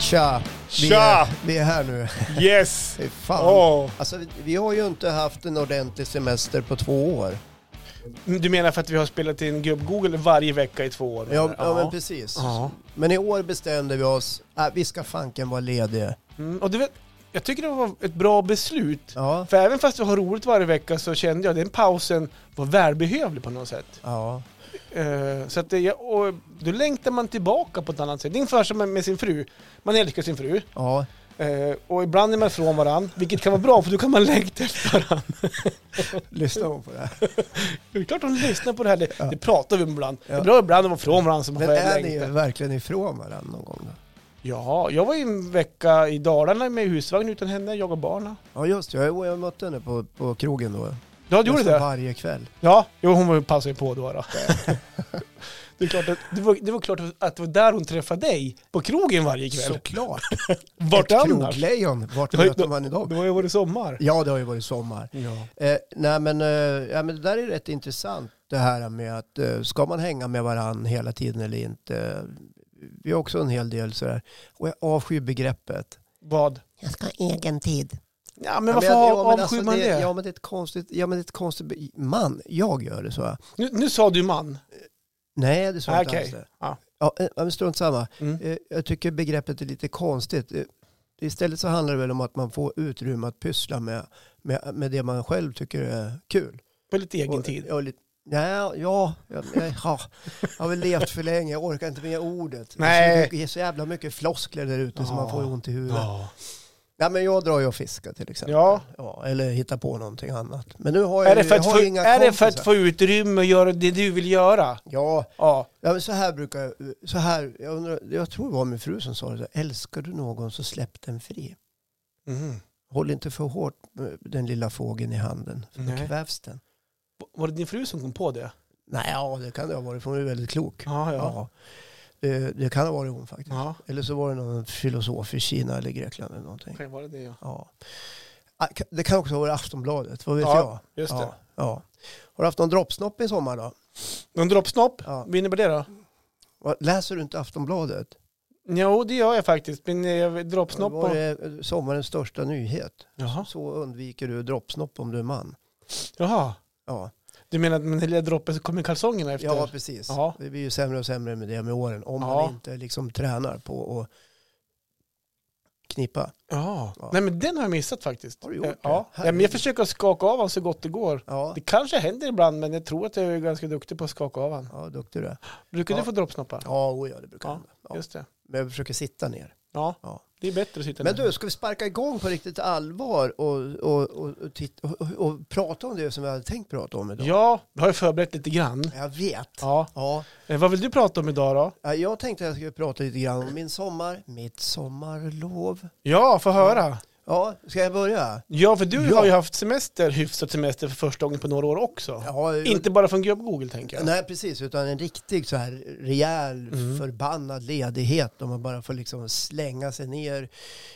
Tja! Vi Tja! är, vi är här nu. Yes! Fy fan. Åh. Alltså, vi, vi har ju inte haft en ordentlig semester på två år. Du menar för att vi har spelat in gubb-Google varje vecka i två år? Ja, ja. men precis. Ja. Men i år bestämde vi oss, äh, vi ska fanken vara lediga. Mm, och du vet, jag tycker det var ett bra beslut. Ja. För även fast vi har roligt varje vecka så kände jag att den pausen var välbehövlig på något sätt. ja. Eh, så att det, jag- och då längtar man tillbaka på ett annat sätt. Det är ungefär som med- med sin fru. Man älskar sin fru. Ja. eh, och ibland är man ifrån varandra, vilket kan vara bra för då kan man längta efter varandra. Lyssna hon på det här. Det är klart de lyssnar på det här, det, Ja. det pratar vi om ibland. Det Ja. är bra ibland att vara ifrån varandra som man Men själv är längtar. ni verkligen ifrån varandra någon gång? Då? Ja, jag var ju en vecka i Dalarna med husvagn utan henne, jag och barnen. Ja just det, jag, jag mötte henne på, på krogen då. Ja, du gjorde Nästan det? varje kväll. Ja, jo, hon var ju- passade ju på då. då. det, är klart att, det, var, det var klart att det var där hon träffade dig, på krogen varje kväll. Såklart! Ett Vart annars? kroglejon, vart Det har ju- möter man idag? Det var ju varit sommar. Ja, det har ju varit sommar. Ja. Eh, nej men, eh, ja, men det där är rätt intressant det här med att eh, ska man hänga med varann hela tiden eller inte? Vi har också en hel del sådär. Och jag avskyr begreppet. Vad? Jag ska ha egen tid. Ja, men varför avskyr man det? Ja men alltså, det är ett konstigt, ja men det är ett konstigt, be- man, jag gör det så. Nu, nu sa du man. Nej det sa jag inte Okej. alls det. Ja. Ja, eh, men strunt samma. Mm. Eh, Jag tycker begreppet är lite konstigt. Eh, Istället så handlar det väl om att man får utrymme att pyssla med, med, med det man själv tycker är kul. På lite egen Och- tid. och lite- Nej, ja, jag, jag, ja, jag har väl levt för länge, jag orkar inte med ordet. Alltså, Nej. Det är så jävla mycket floskler där ute som man får ont i huvudet. Ja. Nej, men jag drar ju och fiskar till exempel. Ja. eller hittar på någonting annat. Men nu har jag, Är, det ju- för jag att har få, ju inga är det för att kompisar. få utrymme och göra det du vill göra? Ja, Ja. ja men så här brukar jag, så här, jag, undrar, jag tror det var min fru som sa det, så här, älskar du någon så släpp den fri. Mm. Håll inte för hårt eh, den lilla fågeln i handen, för då Nej. kvävs den. Var det din fru som kom på det? Nej, ja, det kan det ha varit, för hon är väldigt klok. Ja, Ja. Det, det kan ha varit hon faktiskt. ja. Eller så var det någon filosof i Kina eller Grekland eller någonting. Kan vara det, ja. Ja. Ah, ka- Det kan också ha varit Aftonbladet, vad vet Ja, jag? just ja, det. Ja. Har du haft någon droppsnopp i sommar då? Någon droppsnopp? Ja. Vad innebär det då? Vad- Läser du inte Aftonbladet? Jo, det gör jag faktiskt. Men eh, droppsnopp var och... det eh, sommarens största nyhet. Jaha. Så undviker du droppsnopp om du är man. Jaha. Ja, Du menar att med den lilla droppen så kommer kalsongerna efter? ja precis. Ja. Det blir ju sämre och sämre med det med åren. Om Ja. man inte liksom tränar på att knippa. Ja. Ja. Nej, men den har jag missat faktiskt. Har du gjort Eh, det? Ja. ja. men jag Herregud. försöker skaka av honom så gott det går. Ja, Det kanske händer ibland, men jag tror att jag är ganska duktig på att skaka av honom. ja duktig du är. Brukar Ja. du få droppsnoppar? Ja, oj, ja, det brukar Ja, hända. Ja. Just det. Men jag försöker sitta ner. Ja. Ja. det är bättre att sitta Men ner. du, ska vi sparka igång på riktigt allvar och, och, och, och, titt- och, och, och prata om det som vi hade tänkt prata om idag? Ja, jag har ju förberett lite grann. Jag vet. Ja. Ja, Eh, Vad vill du prata om idag då? Ja, jag tänkte att jag skulle prata lite grann om min sommar, mitt sommarlov. Ja, få höra. Ja, ska jag börja? Ja, för du Ja. har ju haft semester, hyfsat semester för första gången på några år också. Ja, Inte bara från Gubb Google tänker jag. Nej, precis, utan en riktig så här rejäl Mm. förbannad ledighet då man bara får liksom slänga sig ner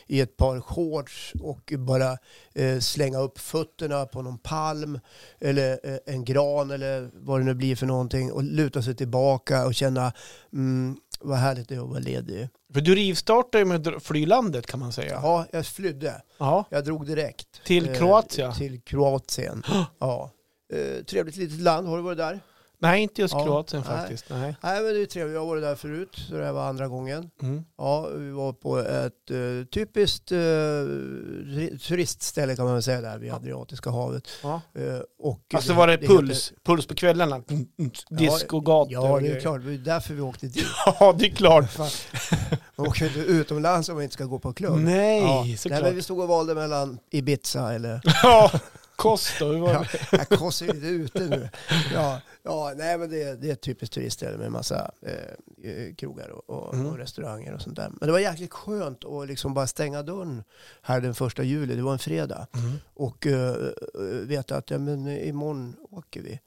i ett par shorts och bara eh, slänga upp fötterna på någon palm eller eh, en gran eller vad det nu blir för någonting och luta sig tillbaka och känna mm, vad härligt det är att vara ledig. För du rivstartade ju med dr- Flylandet kan man säga. Ja. Ja, jag flydde. Jag drog direkt. eh, Till Kroatien? Till Kroatien, ja. Eh, trevligt litet land, har du varit där? Nej, inte just Ja. Kroatien Nej. faktiskt. Nej. Nej, men det är trevligt. Jag har varit där förut, så det här var andra gången. Mm. Ja, vi var på ett eh, typiskt eh, ri- turistställe kan man väl säga där vid Adriatiska havet. Ja. Eh, och Alltså var det, puls? heter- Puls på kvällarna? Mm, mm. Discogator? Ja, det är klart. Det är därför vi åkte dit. ja, det är klart. Man åker inte utomlands om man inte ska gå på klubb. Nej, Ja. Nej, såklart. men vi stod och valde mellan Ibiza eller... Ja, kost då. Hur var Ja, det? jag korsar ju inte ute nu. Ja, ja, nej, men det, det är ett typiskt turistställe med massa eh, eh, krogar och, och, Mm. och restauranger och sånt där. Men det var jäkligt skönt att liksom bara stänga dörren här den första juli. Det var en fredag. Mm. och eh, eh, veta att ja, men, eh, imorgon åker vi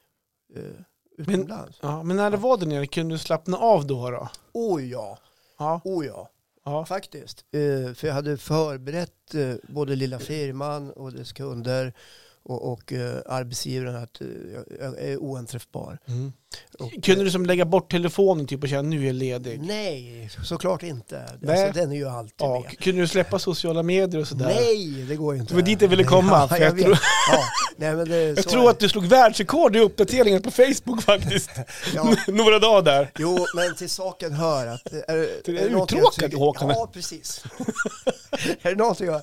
eh, utomlands. Ja, men när det var där nere, kunde du slappna av då? då? Oh ja, Ja, oh ja, ja. faktiskt. Eh, för jag hade förberett eh, både lilla firman och dess kunder och, och eh, arbetsgivaren att eh, jag är oanträffbar. Och, Mm. eh, Kunde du som lägga bort telefonen typ och känna nu är jag ledig? Nej, såklart inte. Nej. Alltså, den är ju alltid Ja, med. kunde du släppa sociala medier och sådär? Nej, det går ju inte. Det var dit jag ville komma, för Ja, jag jag vet. tror- Ja, nej, men det, Jag tror att du slog världsrekord i uppdateringar på Facebook faktiskt. Ja. Några dagar där. Jo, men till saken hör att... Är, Du är det någonting jag uttråkad, tycker- Håkan. Ja, precis. är, det någonting jag,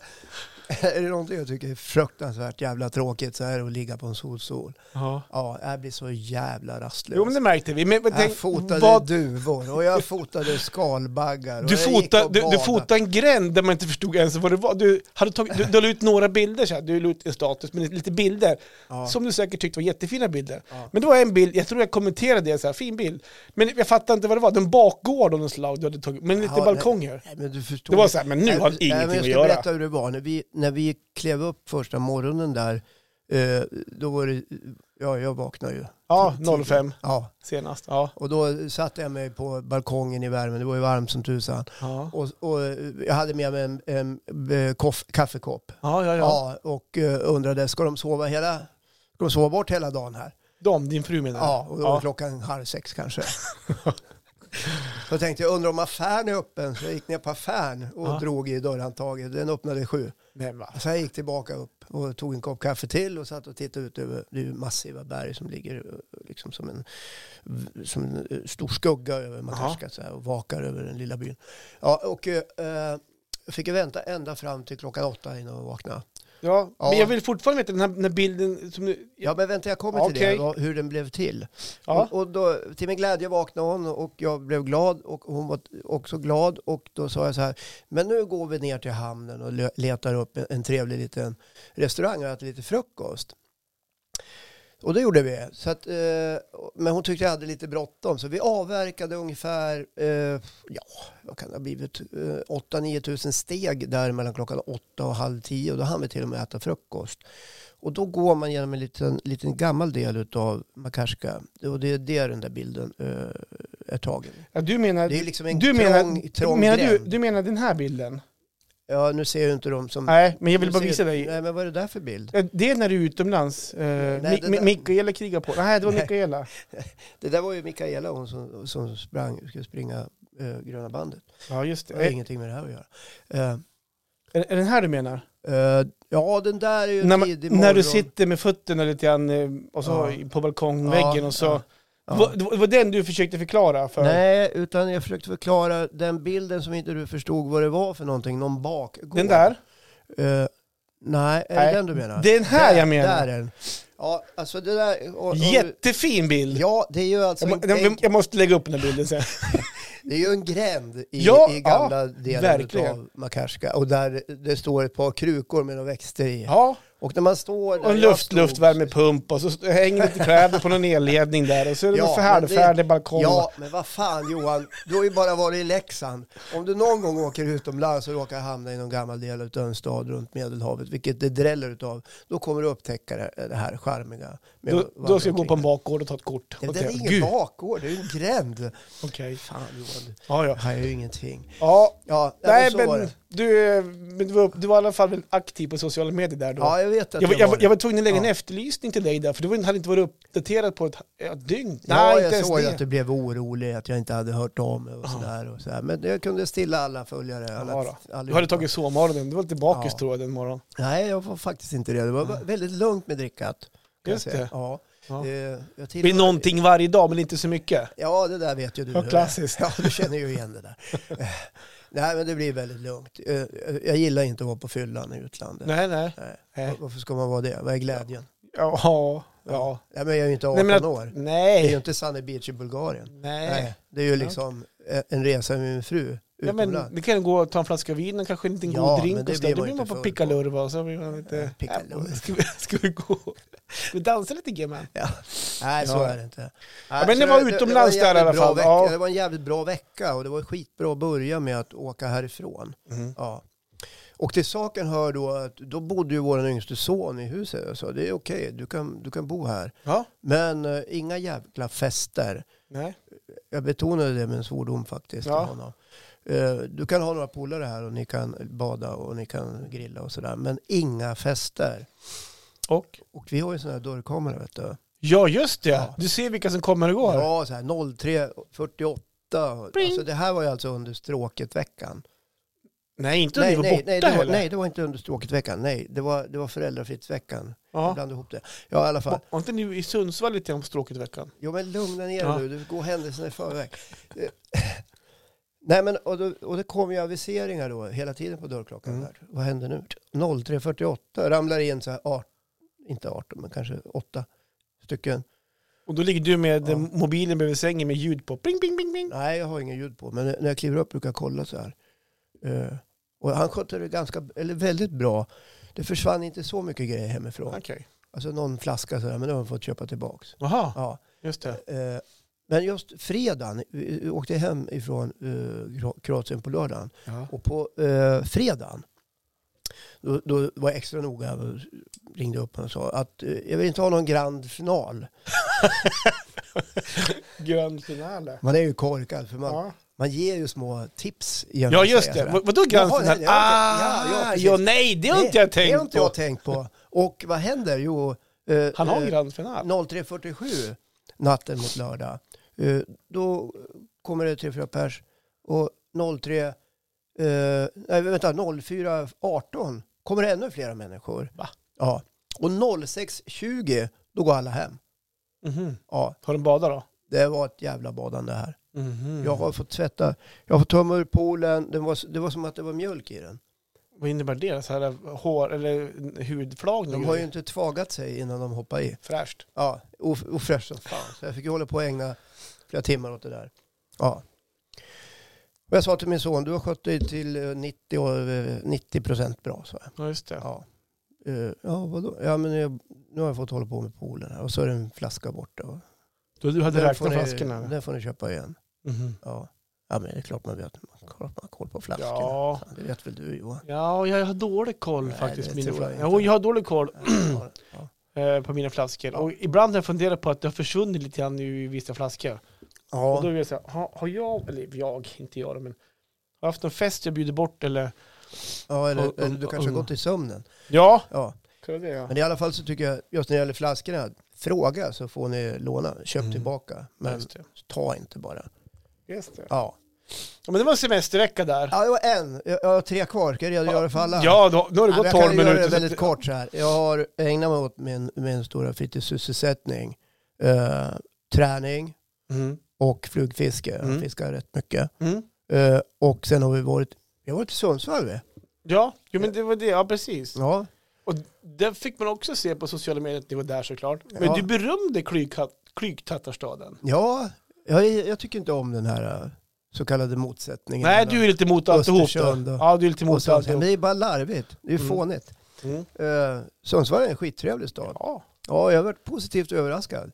är det någonting jag tycker är fruktansvärt jävla tråkigt så är det att ligga på en solstol. Ja, jag blir så jävla rastlös. Jo men det märkte vi. Men, men jag tänk, fotade vad, duvor och jag fotade skalbaggar. Och du, jag gick fotade, och du, du badade. fotade en gränd där man inte förstod ens vad det var. Du, hade tagit, du, du la ut några bilder så här. du la ut en status med lite bilder. Ja. Som du säkert tyckte var jättefina bilder. Ja. Men det var en bild, jag tror jag kommenterade det så här, fin bild. Men jag fattade inte vad det var, den bakgård av något slag du hade tagit, men lite Ja, balkonger. Nej, men du förstår Det var så här, men nu Nej, har men- det nej, men ingenting att Jag ska göra. berätta hur det var. När vi, när vi klev upp första morgonen där, eh, då var det, ja jag vaknade ju. Ja, Tidigt. 05 Ja, senast. Ja. och då satte jag mig på balkongen i värmen, det var ju varmt som tusan. Ja. Och, och eh, jag hade med mig en, en, eh, koff, kaffekopp. Ja, ja, ja. Ja, och eh, undrade, ska de sova hela, ska de sova bort hela dagen här? De, din fru menar Ja, och då var Ja. klockan halv sex kanske. Då tänkte jag, undrar om affären är öppen? Så jag gick ner på affären och Ja. drog i dörrhandtaget. Den öppnade sju. Men va? Så jag gick tillbaka upp och tog en kopp kaffe till och satt och tittade ut över det är ju massiva berg som ligger eh, liksom som en, som en eh, stor skugga över Makarska så här, och vakar över den lilla byn. Ja, och eh, eh, fick jag vänta ända fram till klockan åtta innan jag vaknade. Ja, Ja. men jag vill fortfarande veta den här, den här bilden som du... Ja, men vänta, jag kommer till Okej. det, vad- hur den blev till. Ja. Och, och då, till min glädje vaknade hon och jag blev glad och hon var också glad och då sa jag så här, men nu går vi ner till hamnen och le- letar upp en, en trevlig liten restaurang och äter lite frukost. Och det gjorde vi. Så att, eh, men hon tyckte jag hade lite bråttom så vi avverkade ungefär, eh, ja, vad kan det ha blivit, eh, 8-9 tusen steg där mellan klockan 8 och halv 10 och då hann vi till och med äta frukost. Och då går man genom en liten, liten gammal del av Makarska. Och det är där den där bilden eh, är tagen. Ja, du menar... Det är liksom en du trång, menar, trång menar du, gränd. Mm. du menar den här bilden? Ja, nu ser jag ju inte dem som... Nej, men jag vill nu bara ser- visa dig. Nej, men vad är det där för bild? Ja, Det är när du är utomlands. Eh, Nej, Mi- det Mi- där- Mikaela krigar på. Nej, det var Nej. Mikaela. Det där var ju Mikaela, hon som, som sprang, skulle springa eh, gröna bandet. Ja, just det. Det har Är, ingenting med det här att göra. Eh, är den här du menar? eh, ja, den där är ju När, tidig man, morgon. när du sitter med fötterna lite grann eh, och så Ja. på balkongväggen Ja, och så... ja, ja. Va- Det var, det var den du försökte förklara för? Nej, utan jag försökte förklara den bilden som inte du förstod vad det var för någonting. Någon bakgård. Den där? Eh, nej, är Nej, det den du menar? Den här jag menar. Där är den. Ja, alltså det där... och- och- Jättefin bild! Ja, det är ju alltså Jag, en, må- jag, en, jag måste lägga upp den här bilden sen. det är ju en gränd i, Ja, i gamla delen verkligen. av Makarska. Och där det står ett par krukor med några växter i. Ja. Och när man står där Och en jag luft, stod- luftvärmepump och så st- hänger lite kläder på någon elledning där och så är det Ja, ja, men färdfärdig balkong. Ja, men vad fan Johan, du har ju bara varit i Leksand. Om du någon gång åker utomlands och råkar hamna i någon gammal del av en stad runt Medelhavet, vilket det dräller utav, då kommer du upptäcka det, det här charmiga. med Då, att vandra då ska jag gå på en omkring. bakgård och ta ett kort. Ja, Och Det är tänka, ingen "Gud, bakgård, det är ju en gränd. Okej. Fan Johan, Ja, ja. det här är ju ingenting. ja. Ja, Nej, så var men det. du, eh, men du, var, du var i alla fall väldigt aktiv på sociala medier där då. Ja, jag vet att jag, var- jag, var- det. jag var tvungen att lägga en Ja. efterlysning till dig där, för du var- hade inte varit uppdaterad på ett, ett dygn. Ja, inte jag ens såg det. att du blev orolig, att jag inte hade hört av mig och Ja. sådär. Och sådär. Men jag kunde stilla alla följare. Alla, Ja, då. allihopa. Du hade tagit sovmorgonen, du var lite bakis Ja. tror jag den morgonen. Nej, jag var faktiskt inte det. Det var Mm. väldigt lugnt med drickat. kan jag Just säga. det. Ja. Ja. Eh, Jag Det tillhör... blir någonting varje dag, men inte så mycket. Ja, det där vet ju du. Ja, hur klassiskt. det är. Ja, du känner ju igen det där. Eh, Nej, men det blir väldigt lugnt. Eh, Jag gillar inte att vara på fyllan i utlandet. Nej, nej. Nej. nej. Varför ska man vara det? Vad är glädjen? Ja, ja. Nej, men jag är ju inte 18 Nej, men att- år. Det är ju Nej. inte Sunny Beach i Bulgarien. Nej. Nej. Det är ju liksom eh, en resa med min fru Ja, men utomlands. det kan gå och ta en flaska vin och kanske en liten Ja, god men drink det och sådär. blir Då man blir man inte på full på. pickalurva och så blir man lite... Pickalurva. Ja, Ska vi, ska vi gå? Ska vi dansa lite grann? Nej, så Ja. är det inte. men så det var utomlands det var en där i alla jävligt bra fall, Vecka, ja. Det var en jävligt bra vecka och det var skitbra att börja med att åka härifrån. Ja. Och till saken hör då att då bodde ju vår yngste son i huset. Jag sa det är okej, du, kan, du kan bo här. Ja. Men eh, inga jävla fester. Nej. Jag betonade det med en svordom faktiskt. Ja. Till honom. Eh, Du kan ha några polare här och ni kan bada och ni kan grilla och sådär. Men inga fester. Och? Och vi har ju sån här dörrkamera vet du. Ja, just det. Ja. Du ser vilka som kommer och går. Ja, så här 03.48. Pling. Alltså det här var ju alltså under stråket-veckan. Nej, inte när Nej, du var nej, borta nej, det var, heller. nej, det var inte under stråket-veckan. Nej, det var, det var föräldrafritt-veckan. Jag Ja. blandade ihop det. Ja, i alla fall. Var var inte ni i Sundsvall lite grann på stråket i veckan? Jo, men lugna ner Ja. dig nu. Du går händelserna i förväg. Eh, Nej, men och, då, och det kom ju aviseringar då hela tiden på dörrklockan. Mm. Där. Vad händer nu? 03.48 ramlar in så här, art, inte 18, men kanske 8 stycken. Och då ligger du med Ja. eh, mobilen bredvid sängen med ljud på. Bing, bing, bing, bing. Nej, jag har ingen ljud på, men när jag kliver upp brukar jag kolla så här. Eh, och han skötte det ganska, eller väldigt bra. Det försvann inte så mycket grejer hemifrån. Okej. Alltså någon flaska så här, men det har man fått köpa tillbaks. Jaha, Ja. just det. Eh, Men just fredagen, vi vi åkte hem ifrån eh, Kro- Kroatien på lördagen. Ja. Och på eh, fredagen, då, då var jag extra noga och ringde upp honom och sa att eh, jag vill inte ha någon grand final. Grön finale. Man är ju korkad för man, Ja, man ger ju små tips. genom ja att just säga det. sådär. Vad, vadå grön Jaha, finale? det- Ah, ja, ja, ja, precis. nej, det har inte jag Det har tänkt inte jag på. tänkt på. Och vad händer? Jo, eh, Han har eh, en grön final. 03.47 natten mot lördag. Eh, Då kommer det 3-4 pers och 03, eh, nej vänta 04.18 kommer det ännu flera människor. Va? Ja. Och 06.20 då går alla hem. Mhm. Ja, Har de badat då? det var ett jävla badande här. Mhm. Jag har fått tvätta, jag har fått tömma ur poolen, det var, det var som att det var mjölk i den. Vad innebär det? Så här hår eller hudflagning? De har ju inte tvagat sig innan de hoppar i. Fräscht. Ja, of- ofräsch som fan. Så jag fick ju hålla på och ägna flera timmar åt det där. Ja. Och jag sa till min son, du har skött dig till eh, 90, och, eh, 90 procent bra. Så. Ja, just det. Ja. Eh, Ja, vadå? Ja, men jag, nu har jag fått hålla på med poolen här och så är det en flaska borta. Och Då du hade den får räknat ni- flaskorna? eller? Den får ni köpa igen. Mhm. Ja, ja men det är klart man vet. Man har man har koll på flaskorna. Ja. Fan, Det vet väl du Johan? ja, jag har dålig koll Nej, faktiskt. det Mina tror jag flaskor. inte. Jo, jag har dålig koll Ja, ja. eh, på mina flaskor. Och ibland har jag funderat på att det har försvunnit lite grann i vissa flaskor. Och då ja. är jag så här, har, har jag, eller jag, inte jag då, men har jag haft någon fest jag bjuder bort eller? ja Och- eller, och- eller du kanske har och- gått i sömnen. Ja, Ja. kan det ja. Men i alla fall så tycker jag, just när det gäller flaskorna, fråga så får ni låna. Köp Mm. tillbaka. Men, Men just det. ta inte bara. Just det. Ja, Ja, men det var en semestervecka där. ja det var en. Jag jag har tre kvar. Ska jag redogöra för alla? Ja, då, nu har det Ja, men gått jag 12 kan göra minuter. det så väldigt att- kort så här. Jag har ägnat mig åt min, min stora fritidssysselsättning. Eh, träning Mm. och flugfiske. Mm. Jag fiskar rätt mycket. Mm. Eh, och sen har vi varit, vi har varit i Sundsvall vi. Ja, jo, men det var det. Ja, precis. Ja. Och det fick man också se på sociala medier att ni var där såklart. Men Ja. du berömde Klyghat- Klygtattarstaden. Ja, jag, jag tycker inte om den här eh, så kallade motsättningen. Nej, mellan- du är lite emot alltihop då. Östersund och- Ja, du är lite Och emot så, men alltihop. det är bara larvigt. Det är ju Mm. fånigt. Mm. Eh, Sundsvall är en skittrevlig stad. Ja. Ja, jag har varit positivt överraskad.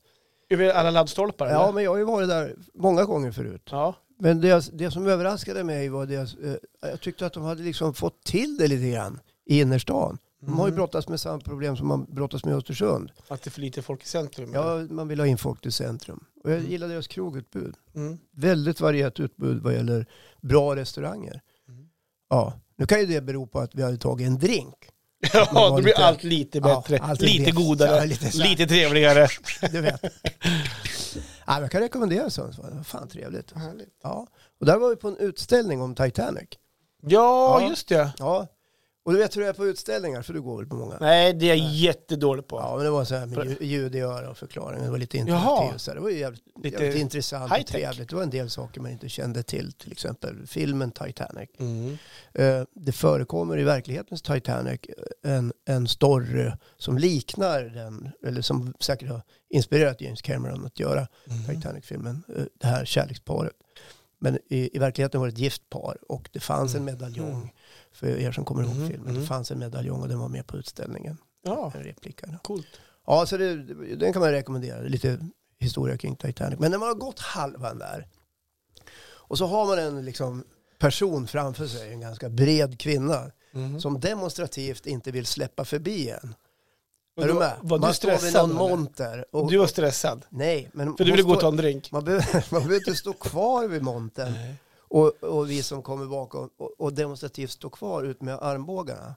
Över alla laddstolpar? eller? Ja, men jag har ju varit där många gånger förut. ja. Men det, det som överraskade mig var deras, eh, jag tyckte att de hade liksom fått till det lite grann i innerstan. De har ju Mm. brottats med samma problem som man brottas med i Östersund. Att det är för lite folk i centrum? eller? Ja, man vill ha in folk till centrum. Och jag Mm. gillar deras krogutbud. Mm. Väldigt varierat utbud vad gäller bra restauranger. Mm. Ja, nu kan ju det bero på att vi hade tagit en drink. ja var då blir lite- allt lite bättre. Ja, allt är lite det. godare. Ja, lite så här. lite trevligare. Du vet. ja, jag kan rekommendera Sundsvall. Fan trevligt. Ja. Och där var vi på en utställning om Titanic. Ja, Ja. just det. Ja. Och du vet hur det är på utställningar, för du går väl på många? Nej, det är jag jättedålig på. Ja, men det var så här med ljud- ljud i öra och förklaringen. Det var lite Jaha. interaktivt. så här. Det var ju jävligt, Lite jävligt intressant och high-tech. trevligt. Det var en del saker man inte kände till, till exempel filmen Titanic. Mm. Eh, det förekommer i verklighetens Titanic eh, en, en story som liknar den, eller som säkert har inspirerat James Cameron att göra Mm. Titanic-filmen, eh, det här kärleksparet. Men i, i verkligheten var det ett gift par och det fanns en Mm. Mm. medaljong. För er som kommer ihåg Mm, filmen, mm. det fanns en medaljong och den var med på utställningen. Ja, En replika. då. coolt. Ja, så det, den kan man rekommendera. Lite historia kring Titanic. Men när man har gått halvan där och så har man en liksom, person framför sig, en ganska bred kvinna, Mm. som demonstrativt inte vill släppa förbi en. Och Är du då- med? Var du man står vid stressad? någon eller? monter. Och, Du var stressad? nej, men För hon du ville gå och står- ta en drink? man behöver, man behöver inte stå kvar vid montern Nej. och, och vi som kommer bakom och, och demonstrativt stå kvar ut med armbågarna.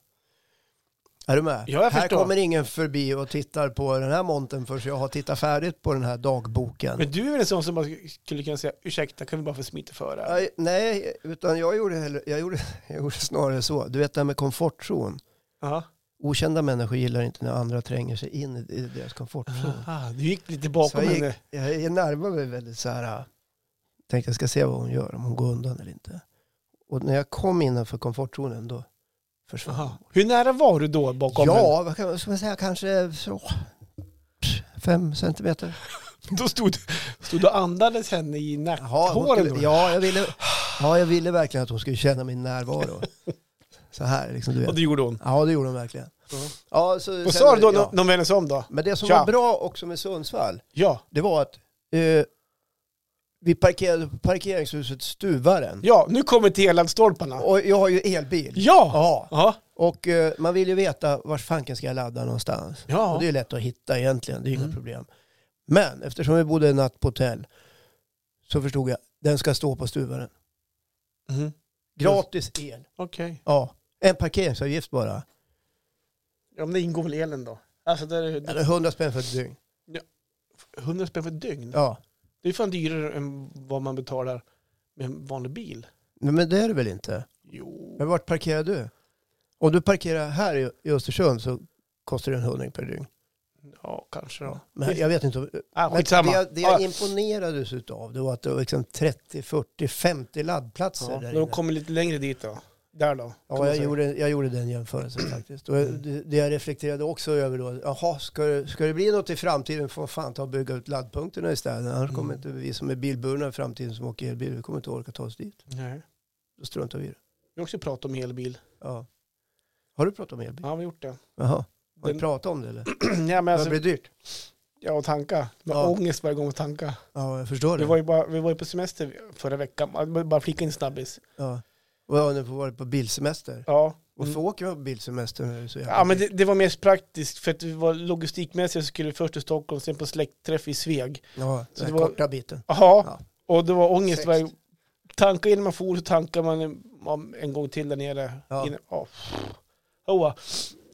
Är du med? Ja, jag här förstår. kommer ingen förbi och tittar på den här monten förrän jag har tittat färdigt på den här dagboken. Men du är väl en sån som bara skulle kunna säga ursäkta, kan vi bara få smita före? Nej, Nej, utan jag gjorde, hellre, jag, gjorde, jag gjorde snarare så. Du vet det här med komfortzon. Ja. Okända människor gillar inte när andra tränger sig in i- i deras komfortzon. Ah, du gick lite Så bakom jag, gick, henne. jag jag närmar mig väldigt så här, äh, tänkte jag ska se vad hon gör, om hon går undan eller inte. Och när jag kom innanför komfortzonen då försvann Aha. Hur nära var du då bakom henne? Ja, vad kan, ska man säga, kanske så, fem centimeter. Då stod, stod du och andades henne Jaha, i hon nackhåren? skulle, då? ja, jag ville, ja, jag ville verkligen att hon skulle känna min närvaro. Så här, liksom, du vet. Och det gjorde hon. Ja, det gjorde hon verkligen. Ja. Ja, så, sen- Vad sa du då ja. när de vände sig om då? Men det som Tja. var bra också med Sundsvall, Ja, det var att eh, vi parkerade på parkeringshuset Stuvaren. ja nu kommer TLAD-stolparna. Och jag har ju elbil. Ja! Ja. Ja. Och eh, man vill ju veta vart fanken ska jag ladda någonstans. Och ja. Mm. det är lätt att hitta egentligen, det är inga problem. Men eftersom vi bodde en natt på hotell så förstod jag, den ska stå på Stuvaren. Mhm. Gratis el. Okej. Ja, en parkeringsavgift bara. Ja, men det ingår väl i elen då? Alltså, där är det Eller 100 spänn för ett dygn. 100 spänn för ett dygn. Ja, Det är fan dyrare än vad man betalar med en vanlig bil. men men det är det väl inte? Jo. Men vart parkerar du? Om du parkerar här i- i Östersund så kostar det en hundring per dygn. Ja, kanske då. Men jag vet inte. Ah, Men skitsamma. det jag, det Ah, jag imponerades utav det var att det var liksom 30, 40, 50 laddplatser ja, där de inne. kommer lite längre dit då. Där då. kan man Ja, jag, säga. gjorde, jag gjorde den jämförelsen faktiskt. Och Mm. det, det jag reflekterade också över då, jaha, ska, det- ska det bli något i framtiden får fan ta och bygga ut laddpunkterna i städerna. Annars Mm. kommer inte vi som är bilburna i framtiden som åker elbil, vi kommer inte orka ta oss dit. Nej. Då struntar vi i det. Vi har också pratat om elbil. Ja. Har du pratat om elbil? Ja, vi har gjort det. Jaha. Har du Den- pratat om det eller? ja, men Alltså, alltså, det blir dyrt. ja, och tanka. Det var Ja. ångest varje gång att tanka. Ja, jag förstår Vi det. var, ju bara, vi var ju på semester förra veckan. Jag vill Bara flika in snabbis. Ja. Och ja, nu får varit på bilsemester. Ja. Varför Mm. åker man på bilsemester när det är så jävla Ja, men dyrt? det, det var mest praktiskt för att vi var logistikmässigt så skulle vi först till Stockholm, sen på släktträff i Sveg. Ja, så den det var- korta biten. Ja, Ja. och det var ångest. Sext. varje- Tanka innan man for så tankar man en, om- en gång till där nere. Ja. Innan, ja. Hoa.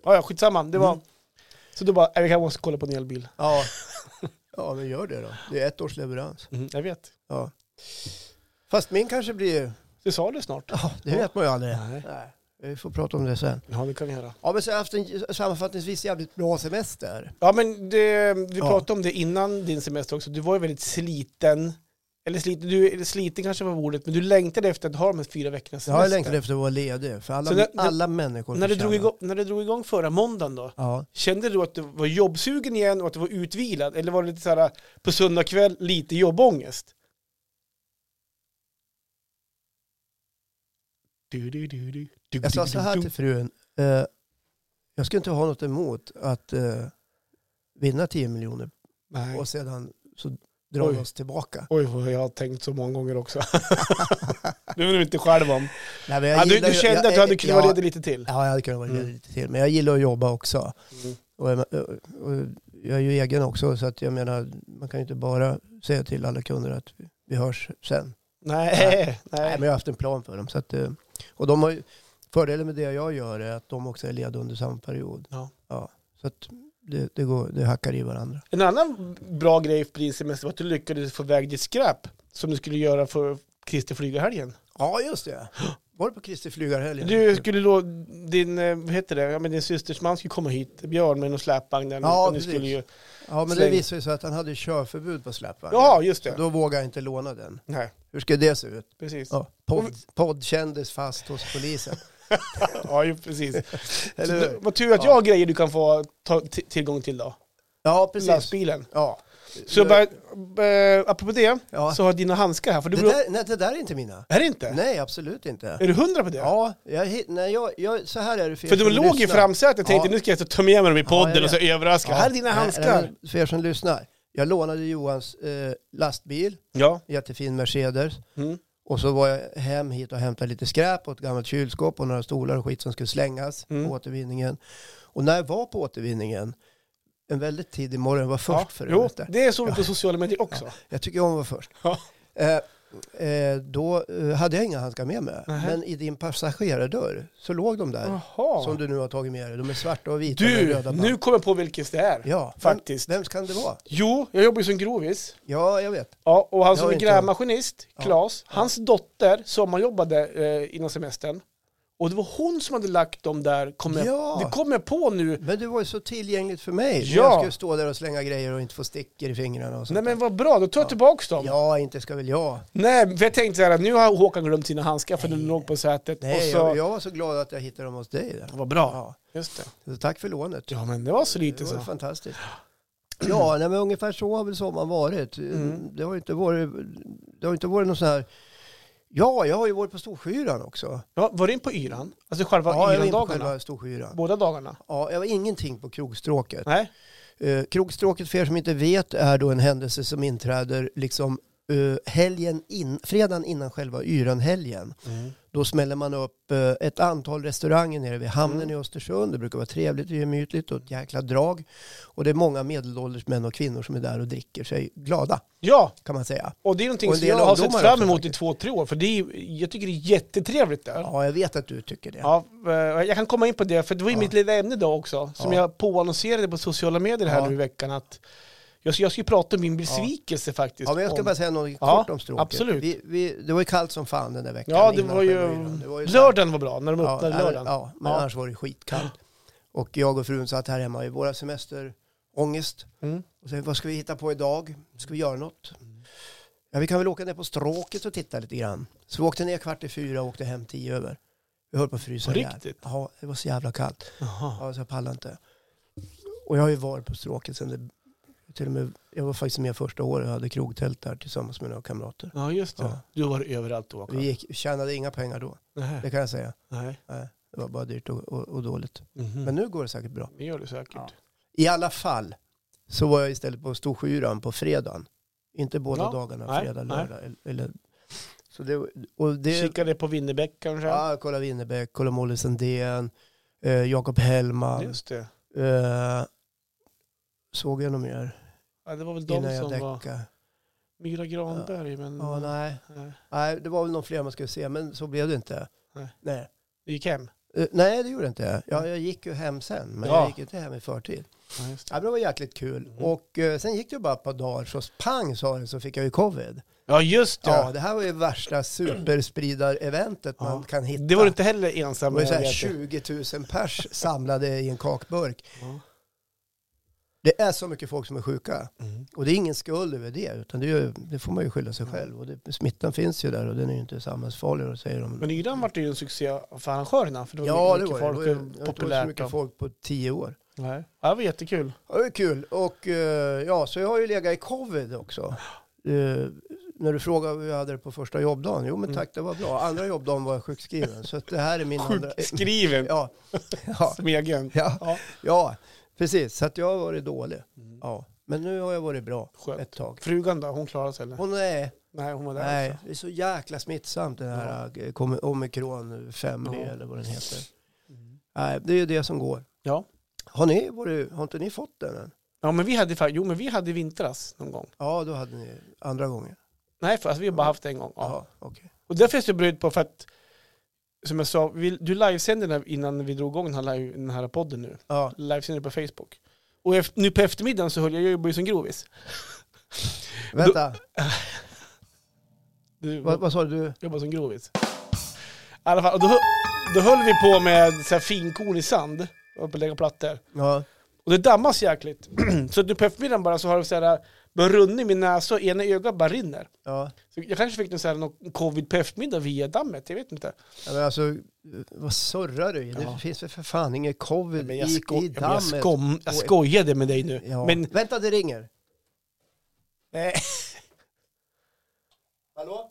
Ja, ja, skitsamma. Det var, Mm. Så då bara, "Nej, jag måste kolla på en elbil. Ja. ja, men gör det då. Det är ett års leverans. Jag vet. Ja. Fast min kanske blir... Du sa det snart. Ja, det vet man ju aldrig. Nej. Nej. Vi får prata om det sen. Ja, det kan vi göra. Ja, men så har jag haft en sammanfattningsvis jävligt bra semester. Ja, men det, vi Ja. pratade om det innan din semester också. Du var ju väldigt sliten. Eller sliten, du, eller sliten kanske var ordet, men du längtade efter att ha de här fyra veckornas semester. Ja, jag längtade efter att vara ledig. För alla, Så när- alla människor När du, förtjänar- drog igång, när du drog igång förra måndagen då, Ja. Kände du att du var jobbsugen igen och att du var utvilad? Eller var det lite så här på söndag kväll, lite jobbångest? Du, du, du, du, du, Jag sa du, så du, här du. till frun. Eh, jag skulle inte ha något emot att eh, vinna 10 miljoner Nej. och sedan så drar Oj. vi oss tillbaka. Oj, vad jag har tänkt så många gånger också. det vill du inte själv om. Nej, men jag Ja, du, gillar du ju- kände jag- att du hade kunnat ja, vara ledig lite till? Ja, jag hade kunnat vara ledig Mm. lite till. Men jag gillar att jobba också. Mm. Och, jag- och jag är ju egen också så att jag menar, man kan ju inte bara säga till alla kunder att vi- vi hörs sen. Nej, Nej, men nej. jag har haft en plan för dem. Så att, eh, och de har ju, fördelen med det jag gör är att de också är lediga under samma period. Ja. så att det, det, går, det hackar i varandra. En annan bra grej på din semester var att du lyckades få iväg ditt skräp som du skulle göra för Christer Flygarhelgen. Ja, just det. Var du på Kristi flygarhelg? Du skulle då, din, eh, vad heter det, ja, men din systers man skulle komma hit, Björn med någon släpvagn. där. Ja, Och ni precis. skulle ju, Ja, men det släng. visade sig att han hade körförbud på släpvagnen. ja, just det. Så då vågade jag inte låna den. Nej, Hur ska det se ut? precis. Ja, Ja, podd, poddkändis fast hos polisen. ju, precis. Eller Så, hur? du- vad tur att jag har grejer du kan få ta t- tillgång till då. Ja, precis. Lastbilen. Ja. Så bara, eh, apropå det, ja. så har dina handskar här. För du det, blir- där, nej, det där är inte mina. Är det inte? Nej, absolut inte. Är du hundra på det? Ja, jag, hit- nej, jag, jag, så här är det för er För de som låg i lyssnar. framsätet och tänkte Ja. nu ska jag ta- ta med mig dem i podden jag och så överraska. Ja. Här är dina Nej, handskar. nej, men För er som lyssnar. Jag lånade Johans eh, lastbil, ja. jättefin Mercedes. Mm. Och så var jag hem hit och hämtade lite skräp och ett gammalt kylskåp och några stolar och skit som skulle slängas Mm. på återvinningen. Och när jag var på återvinningen, en väldigt tidig morgon, jag var först Ja. för Jo, övrigt där. det är så vi på sociala medier också. Jag tycker om att vara först. Ja. Eh, eh, då eh, hade jag inga handskar med mig. Nähä. Men i din passagerardörr så låg de där. Jaha. Som du nu har tagit med dig. De är svarta och vita med Du, röda band. nu kommer jag på vilket det är. Ja, Faktiskt. Vem, vem kan det vara? Jo, jag jobbar ju som grovis. Ja, jag vet. Ja, och han Det som har är inte grävmaskinist, Ja. Claes, hans dotter sommarjobbade eh, innan semestern. Och det var hon som hade lagt dem där, kom jag, Ja. det kom jag på nu. Men du var ju så tillgängligt för mig. Ja. Jag skulle stå där och slänga grejer och inte få stickor i fingrarna och sånt. Nej men vad bra, då tar jag tillbaka dem. Ja, inte ska väl jag. Nej, för jag tänkte så här att nu har Håkan glömt sina handskar för de låg på sätet. Nej, och så... jag, jag var så glad att jag hittade dem hos dig. Där. Vad bra. Ja. Just det. Så tack för lånet. Ja men det var så Det lite var så. fantastiskt. Mm. Ja, nej, men ungefär så har väl sommaren varit. Mm. Det har ju inte varit, det har inte varit någon sån här... Ja, jag har ju varit på Storskyran också. Ja, var du in på yran? Alltså själva ja, jag var inne på yran-dagarna? själva Storskyran. Båda dagarna? Ja, jag var ingenting på krogstråket. Nej? Eh, krogstråket, för er som inte vet, är då en händelse som inträder liksom eh, helgen in, fredagen innan själva yranhelgen. Då smäller man upp eh, ett antal restauranger nere vid hamnen Mm. i Östersund. Det brukar vara trevligt och gemytligt och ett jäkla drag. Och det är många medelålders män och kvinnor som är där och dricker sig glada, Ja, kan man säga. och det är någonting Och en som del jag har ungdomar sett fram också emot i faktiskt. två, tre år. För det är, ju- jag tycker det är jättetrevligt där. Ja, jag vet att du tycker det. Ja, eh, jag kan komma in på det, för det var ju Ja. mitt lilla ämne då också, som Ja. jag påannonserade på sociala medier här Ja. nu i veckan. Att jag, ska- jag ska ju prata om min besvikelse faktiskt. Ja, men jag ska om- bara säga något Ja, kort om stråket. absolut. Vi, vi, det var ju kallt som fan den där veckan. ja det innan var ju... själva yran. Det var ju så här- Lördagen var bra, när de öppnade ja, lördagen. Ja, men Ja. annars var det skitkallt. Och jag och frun satt här hemma i våra semesterångest. Mm. Och så, vad ska vi hitta på idag? Ska vi göra något? Ja, vi kan väl åka ner på stråket och titta lite grann. Så vi åkte ner kvart i fyra och åkte hem tio över. Vi höll på att frysa På ihjäl. riktigt? Ja, det var så jävla kallt. Jaha. Ja, så jag pallade inte. Och jag har ju varit på stråket sen det, till och med, jag var faktiskt med första året och hade krogtält där tillsammans med några kamrater. Ja, just det. Ja. Du var överallt då. Håkan. Vi gick, tjänade inga pengar då, Nej. det kan jag säga. Nej. Det var bara dyrt och, och, och dåligt. Mhm. Men nu går det säkert bra. Det gör du säkert. Ja. I alla fall så var jag istället på Storsjöyran på fredagen. Inte båda Ja, dagarna, nej, fredag, nej. lördag. el- Eller, så det, och det, Kikade på Winnerbäck kanske? ja, kolla Winnerbäck, kolla Molly Sandén, eh, Jakob Hellman. Just det. Eh, såg jag något mer Ja, det var väl innan de jag som var... Mm. däckade? Myra Granberg, men... Ja, nej. nej. nej, det var väl någon fler man skulle se, men så blev det inte. Nej. Nej. Du gick hem? Eh, nej, det gjorde inte jag. Ja, jag gick ju hem sen, men Ja. jag gick inte hem i förtid. Ja, just det. Ja, men det var jäkligt kul. Mm. Och eh, sen gick det ju bara ett par dagar, så pang sa det, så fick jag ju covid. Ja, just det. Ja, det här var ju värsta superspridar-eventet man Ja. kan hitta. det var du inte heller Det ensam var ju så här vet du. 20 000 pers samlade i en kakburk. Ja. Det är så mycket folk som är sjuka. Mm. Och det är ingen skuld över det, utan det, är, ju- det får man ju skylla sig själv. Och det, smittan finns ju där och den är ju inte samhällsfarlig, och säger de. Men yran vart ju en succé för arrangörerna. För det var ja, det mycket var det. Det folk var ju- och det. Det var så populärt. mycket och- folk på tio år. Nej. Ja, det var jättekul. Ja, det är kul. Och eh, ja, så jag har ju legat i covid också. Eh, när du frågade hur jag hade det på första jobbdagen, jo men Mm. tack det var bra. Andra jobbdagen var jag sjukskriven. Så att det här är min andra... Sjukskriven. Ja, ja, Smegen. ja, Ja. ja, precis. Så att jag har varit dålig. Ja. Men nu har jag varit bra Skönt. Mm. ett tag. Frugan då, hon klarade sig eller? Och nej, Nej, hon var där nej, också. det är så jäkla smittsamt den här eh, kom- omikron 5B Ja. eller vad den heter. Mm. Nej, det är ju det som går. Ja. Har, ni varit, har inte ni fått den än? Ja, men vi hade fa- jo men vi hade i vintras någon gång. Ja, då hade ni andra gången. Nej, för alltså, vi har bara haft en gång. Ja. Jaha, okej. Och därför är jag så brydd på för att, som jag sa, vi, du livesände den här- innan vi drog igång den här, live, den här podden nu. Ja. Livesänder på Facebook. Och eft- nu på eftermiddagen så höll jag, jag jobbar ju som grovis. Vänta, Du, vad, vad sa du? Jobbar som grovis. I alla fall, och då, hö- då höll vi på med så här finkorn i sand. Och på att lägga plattor. Ja, Och det dammas jäkligt. så att nu på eftermiddagen bara så har det så här, bara runnit i min näsa och ena ögat bara rinner. ja. Så jag kanske fick någon, så här, någon covid på eftermiddagen via dammet, jag vet inte. ja men alltså, vad surrar du i? Det Ja. finns väl för fan ingen covid Men i, jag, sko- i ja, men jag, dammet. skom- jag skojade med dig nu. Ja. Men, Vänta, det ringer. nej. Hallå?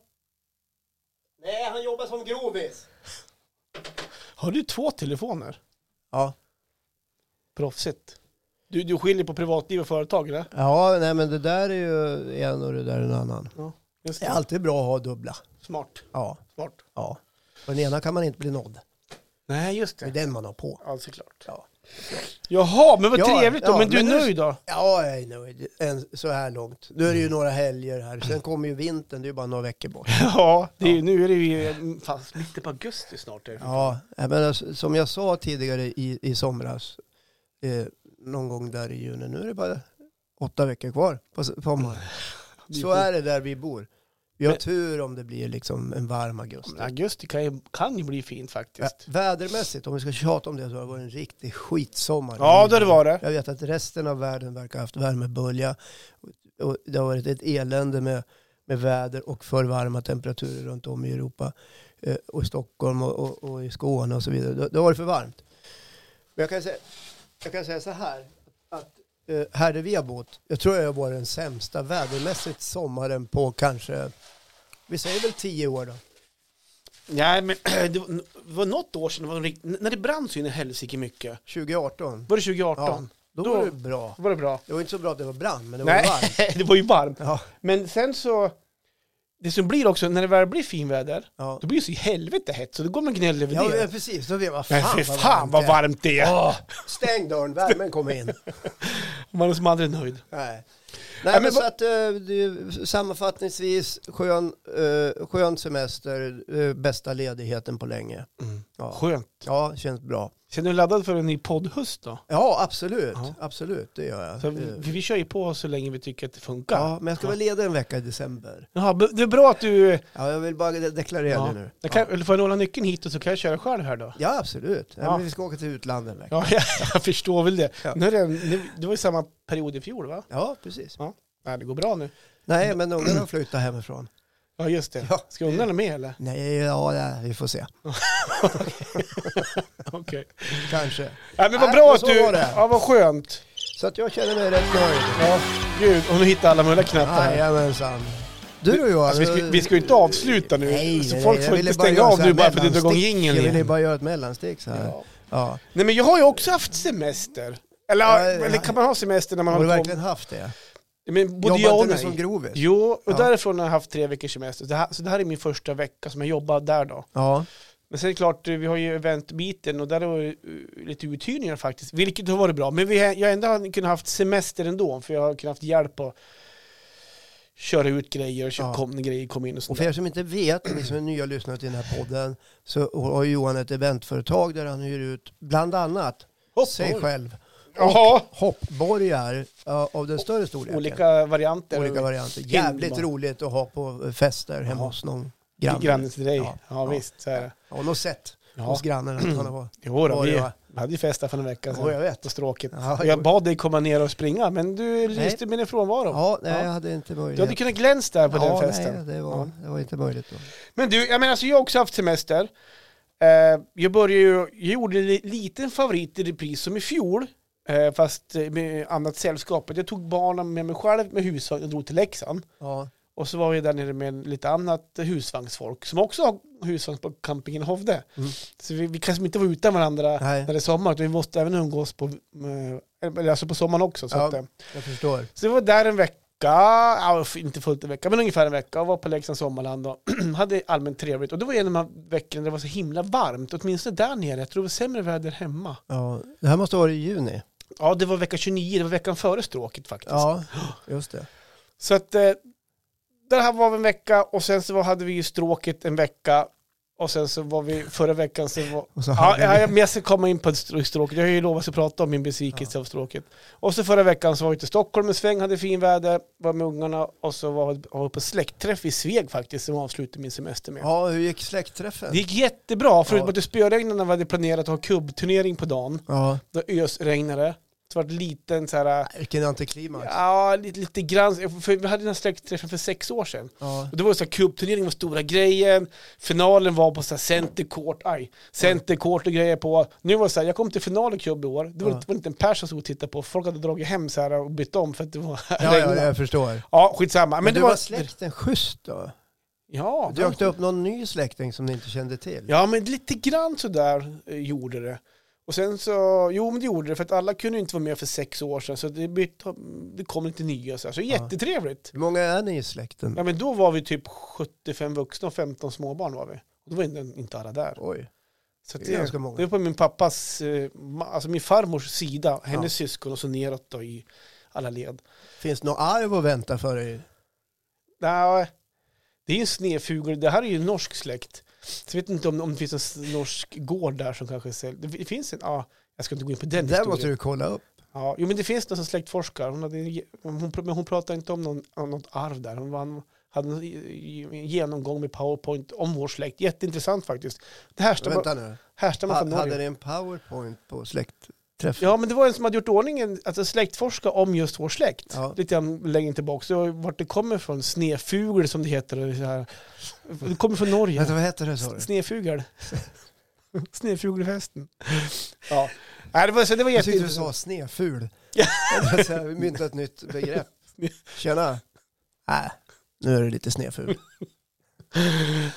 Nej, han jobbar som grovis. Har du två telefoner? Ja. Proffsigt. Du, du skiljer på privatliv och företag, eller? Ja, nej men det där är ju en och det där är en annan. Just Det det. är alltid bra att ha dubbla. Smart. Ja. Smart. ja. På den ena kan man inte bli nådd. Nej, just Det är det. den man har på. Ja, såklart. Ja. Jaha, men vad Ja, trevligt då. ja, men du är men nu- nöjd då? Ja, jag är nöjd än så här långt. Nu är det ju några helger här. Sen kommer ju vintern, det är ju bara några veckor bort. Ja, det är, ju- nu är det ju fan, mitten på augusti snart. Är det. Ja, men alltså, som jag sa tidigare i, i somras, eh, någon gång där i juni, nu är det bara åtta veckor kvar på s- sommaren. Så är det där vi bor. Vi har Men- tur om det blir liksom en varm Ja, augusti. men Augusti kan ju, kan ju bli fint faktiskt. Vä- vädermässigt, om vi ska tjata om det, så har det varit en riktig skitsommar. Ja, det har det varit. Jag vet att resten av världen verkar ha haft värmebölja. Och- Och det har varit ett elände med, med väder och för varma temperaturer runt om i Europa. Eh, och i Stockholm och, och, och i Skåne och så vidare. Det, det har varit för varmt. Men jag kan säga, jag kan säga så här. Att eh, här där vi har bott, jag tror jag har varit den sämsta vädermässigt sommaren på kanske, vi säger väl tio år då. Nej, men det var- det var något år sedan, det var en rikt- när det brann så in i helsike mycket. 2018. Var det 2018? då, Då- var det bra. Var det bra? Det var inte så bra att det var brand, men det var Nej, varmt. det var ju varmt. Ja, Men sen så, det som blir också, när det väl blir finväder, ja. då blir det så i helvete hett, så då går man och gnäller över ja det. men precis. Då blev jag, Men fan, fy vad fan varmt vad det är. varmt det är! Åh, stäng dörren, värmen kom in. Man är som aldrig nöjd. Nej. Nej, Nej, men men så vad- att, eh, det är sammanfattningsvis, skön, eh, skön semester, eh, bästa ledigheten på länge. Ja, Skönt. ja känns bra. Känner du laddad för en ny poddhöst då? Ja, absolut. Ja. Absolut, det gör jag. Så Eh, Alltså, vi, vi kör ju på så länge vi tycker att det funkar. Ja, men jag ska vara ledig en vecka i december. Jaha, b- det är bra att du... Ja, jag vill bara de- deklarera Ja. det nu. Jag kan, Får jag låna nyckeln hit och så kan jag köra själv här då? Ja, absolut. Ja. Ja. men vi ska åka till utlandet en vecka. Ja, jag, jag förstår väl det. Ja. Nu är det, nu, det var ju samma period i fjol va? Ja, precis. Nej, det går bra nu. Nej, men ungarna flyttar hemifrån. Ja, just det. Ja. Ska ungarna med eller? Nej, ja, ja, vi får se. Okej. Kanske. Nej, men vad Nej, bra men att så du... var det. Ja, vad skönt. Så att jag känner mig rätt nöjd. Ja, gud. Och nu hittar alla möjliga knappar. här. Jajamensan. Du och jag. Alltså, vi, ska, vi ska ju inte avsluta nu. Nej, så nej, folk jag får ville inte bara stänga göra av så här nu bara för att du drar igång mellanstick. jingeln Jag ville igen. bara göra ett mellanstick så här. Ja. Ja. Nej, men jag har ju också haft semester. Eller, Ja, eller ja. kan man ha semester när man Har du håller på? verkligen haft det? Men både Jobbar ja och inte du nej. som grovis? Jo, och Ja. därifrån har jag haft tre veckors semester. Det här, så det här är min första vecka som jag jobbar där då. Ja. Men sen är det klart, vi har ju eventbiten och där har vi eh, lite uthyrningar faktiskt, vilket har varit bra. Men vi, har- jag har ändå har kunnat haft semester ändå, för jag har kunnat haft hjälp att köra ut grejer och köpa Ja. kom, grejer kom in och Och sånt för där. er som inte vet, ni som är nya lyssnare till den här podden, så har Johan ett eventföretag där han hyr ut bland annat sig Hoppborg. själv Jaha, hoppborgar ja, av den större storleken. olika varianter. Olika varianter. Jävligt Himla. roligt att ha på fester hemma Ja. hos någon Till granne. Grannen till dig. Ja, Ja, ja. visst. Så är det. Har nog sett Ja. hos grannen att han har varit. Jo, då, var vi, jag. vi hade ju fest där för en vecka Ja, jag sedan vet. på stråket. Ja, Och jag bad dig komma ner och springa, men du Nej. lyste med din frånvaro. Ja, nej, Ja. jag hade inte möjlighet. Du hade kunnat glänsa där på ja, den festen. Nej, det, var, det var inte möjligt då. Men du, jag menar så jag har också haft semester. Eh, jag började ju, jag gjorde en li- liten favorit i repris som i fjol, eh, fast eh, med annat sällskap. Jag tog barnen med mig själv med husvagn och drog till Leksand. Ja, Och så var jag där nere med lite annat husvagnsfolk som också har husvagn på campingen Hovde. Mm. Så vi, vi kanske inte var utan varandra Nej. när det är sommar, utan vi måste även umgås på, eh, eller alltså på sommaren också. Så, Ja. att, eh, jag förstår. så jag var där en vecka, ja, f- inte fullt en vecka, men ungefär en vecka och var på Leksands sommarland och hade allmänt trevligt. Och det var en av de här veckorna det var så himla varmt, åtminstone där nere. Jag tror det var sämre väder hemma. Ja, det här måste ha varit i juni. Ja, det var vecka 29, det var veckan före stråket faktiskt. Ja, just det. Så att eh, där här var vi en vecka och sen så var- hade vi ju stråket en vecka och sen så var vi förra veckan så var... Och så Ja, hade ja, vi- ja, men jag ska komma in på str- stråket. Jag har ju lovat att prata om min besvikelse av stråket. Och så förra veckan så var jag ute i Stockholm en sväng, hade fin väder, var med ungarna och så var var jag på släktträff i Sveg faktiskt som jag avslutade min semester med. ja, hur gick släktträffen? Det gick jättebra, förutom Ja. att det spöregnade när vi hade planerat att ha kubbturnering på dagen. Ja, Då ösregnade. Så var det liten så här, vilken antiklimax. Ja. ja lite, lite grann, för vi hade den här släktträffen för sex år sedan. Ja. Och det var så här, cupturneringen var stora grejen, finalen var på så här center court, aj, center court och grejer på. Nu var det så här, jag kom till final i cup i år, det var, Ja. inte, var inte en pers som stod och tittade på, folk hade dragit hem så här och bytt om för att det var Ja, regn. jag förstår. Men, Ja, skitsamma. Men, du det var, var släkten schysst då? Ja, det var- Dök det upp någon ny släkting som ni inte kände till? ja, men lite grann sådär eh, gjorde det. Och sen så, jo men det gjorde det, för att alla kunde ju inte vara med för sex år sedan, så det, bytte, det kom lite nya så här, så jättetrevligt. Hur många är ni i släkten? Ja men då var vi typ 75 vuxna och 15 småbarn var vi. Och då var inte, inte alla där. Oj. Så att Det är det, ganska många. det är på min pappas, eh, ma- alltså min farmors sida, hennes syskon och så neråt då i alla led. Finns något arv att vänta för dig? Nej, det är ju en snefugel, det här är ju en norsk släkt. Så jag vet inte om, om det finns en s- norsk gård där som kanske säljer. Det fi- det finns en, ja, jag ska inte gå in på den Den måste du kolla upp. Ja, jo men det finns någon som släktforskar, hon hade, en ge- hon, pr- men hon pratade inte om någon, om något arv där. Hon vann, hade en i- i- genomgång med powerpoint om vår släkt. Jätteintressant faktiskt. Det härstammar Vänta nu. härstammar Ha, från Norge. hade ni en powerpoint på släktträffen? Ja, men det var en som hade gjort ordningen, alltså släktforska om just vår släkt. Ja. Lite grann längre tillbaka. Så vart det kommer från, snefugel som det heter. eller Så här. Det kommer från Norge. Vänta, vad hette det sa du? Snefugel. Snefugelfesten. Ja. Nej, det var, så det var Jag tyckte du jätteintressant. sa Du sneful. Ja. Jag tänkte så här, Vi myntar ett nytt begrepp. Tjena. Äh, Nej, nu är du lite sneful.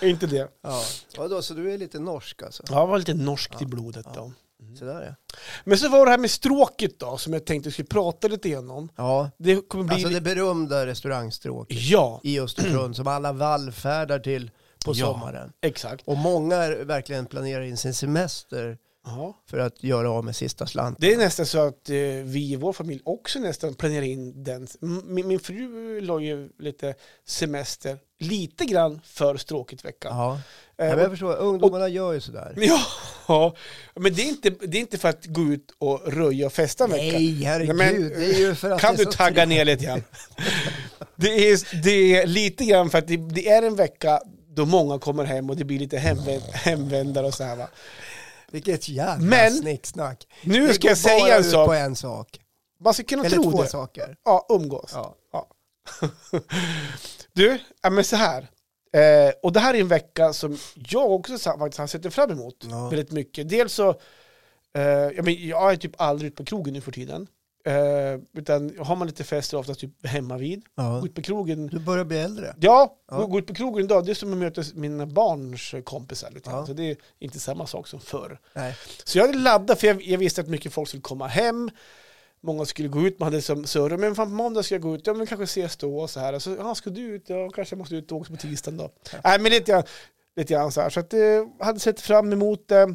Inte det. Ja. Vadå, så du är lite norsk alltså? Ja, det var lite norskt i Ja. blodet Ja. då. Så där ja. Men så var det här med stråket då, som jag tänkte vi skulle prata lite grann om. Ja, Det kommer bli... alltså det berömda restaurangstråket Ja, i Östersund som alla vallfärdar till på Ja. sommaren. exakt. Och många är- verkligen planerar in sin semester Ja. för att göra av med sista slanten. Det är nästan så att eh, vi i vår familj också nästan planerar in den. M- Min, min fru la ju lite semester, lite grann för stråkigt vecka. Ja. Ja, Eh, men jag och- förstår, ungdomarna gör ju sådär. ja, men det är, inte, det är inte för att gå ut och röja och festa en vecka. Nej, herregud. Nej, men- det är ju för att Kan det du är så tagga ner lite grann? Det är, det är lite grann för att det, det är en vecka då många kommer hem och det blir lite hemvä- hemvändare och så här va. Vilket jävla Men- snicksnack. Nu Det ska går jag säga bara en ut sak. på en sak. Man ska kunna Eller tro två det. saker. Ja, umgås. Ja. Du, ja, men så här. Eh, och det här är en vecka som jag också sa- faktiskt har sett fram emot Ja. väldigt mycket. Dels så, eh, jag, men, jag är typ aldrig ute på krogen nu för tiden. Eh, utan har man lite fester oftast typ hemma vid. Ja. Gå ut på krogen. Du börjar bli äldre. Ja, Ja. gå- gå ut på krogen idag, det är som att möta mina barns kompisar. Lite. grann. Ja. Så det är inte samma sak som förr. Nej. Så jag hade laddat för jag, jag visste att mycket folk skulle komma hem. Många skulle gå ut, man hade som surr, men fan på måndag ska jag gå ut, ja men kanske ses då och så här. Så, ja, ska du ut? Ja, kanske jag måste ut och åka på tisdagen då. Nej, men lite grann, lite grann så här. Så att jag hade sett fram emot det.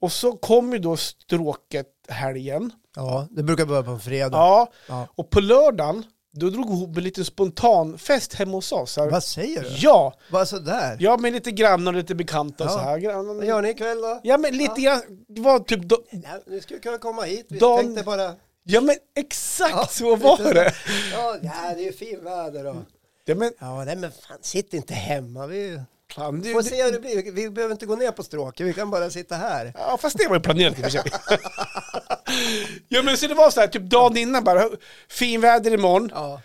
Och så kom ju då stråket helgen. Ja, det brukar börja på en fredag. Ja, Ja. och på lördagen, då drog vi ihop en liten spontanfest hemma hos oss. Så här. Vad säger du? Ja, Bara sådär? ja, men lite grannar och lite bekanta och Ja. så här. Vad Grannar- gör ni ikväll då? Ja, men lite grann, det var typ då, Nej, ni skulle kunna komma hit. Vi Dan- tänkte bara... Ja men exakt Ja, så var lite det. Ja, ja, det är ju fin väder då. Ja, men, Ja, nej men fan, sitt inte hemma. Vi fan, det, får det, se hur det blir. Vi behöver inte gå ner på stråket. Vi kan bara sitta här. ja fast det var ju planerat i och för sig. ja men så det var så här, typ dagen innan bara, finväder imorgon, Ja.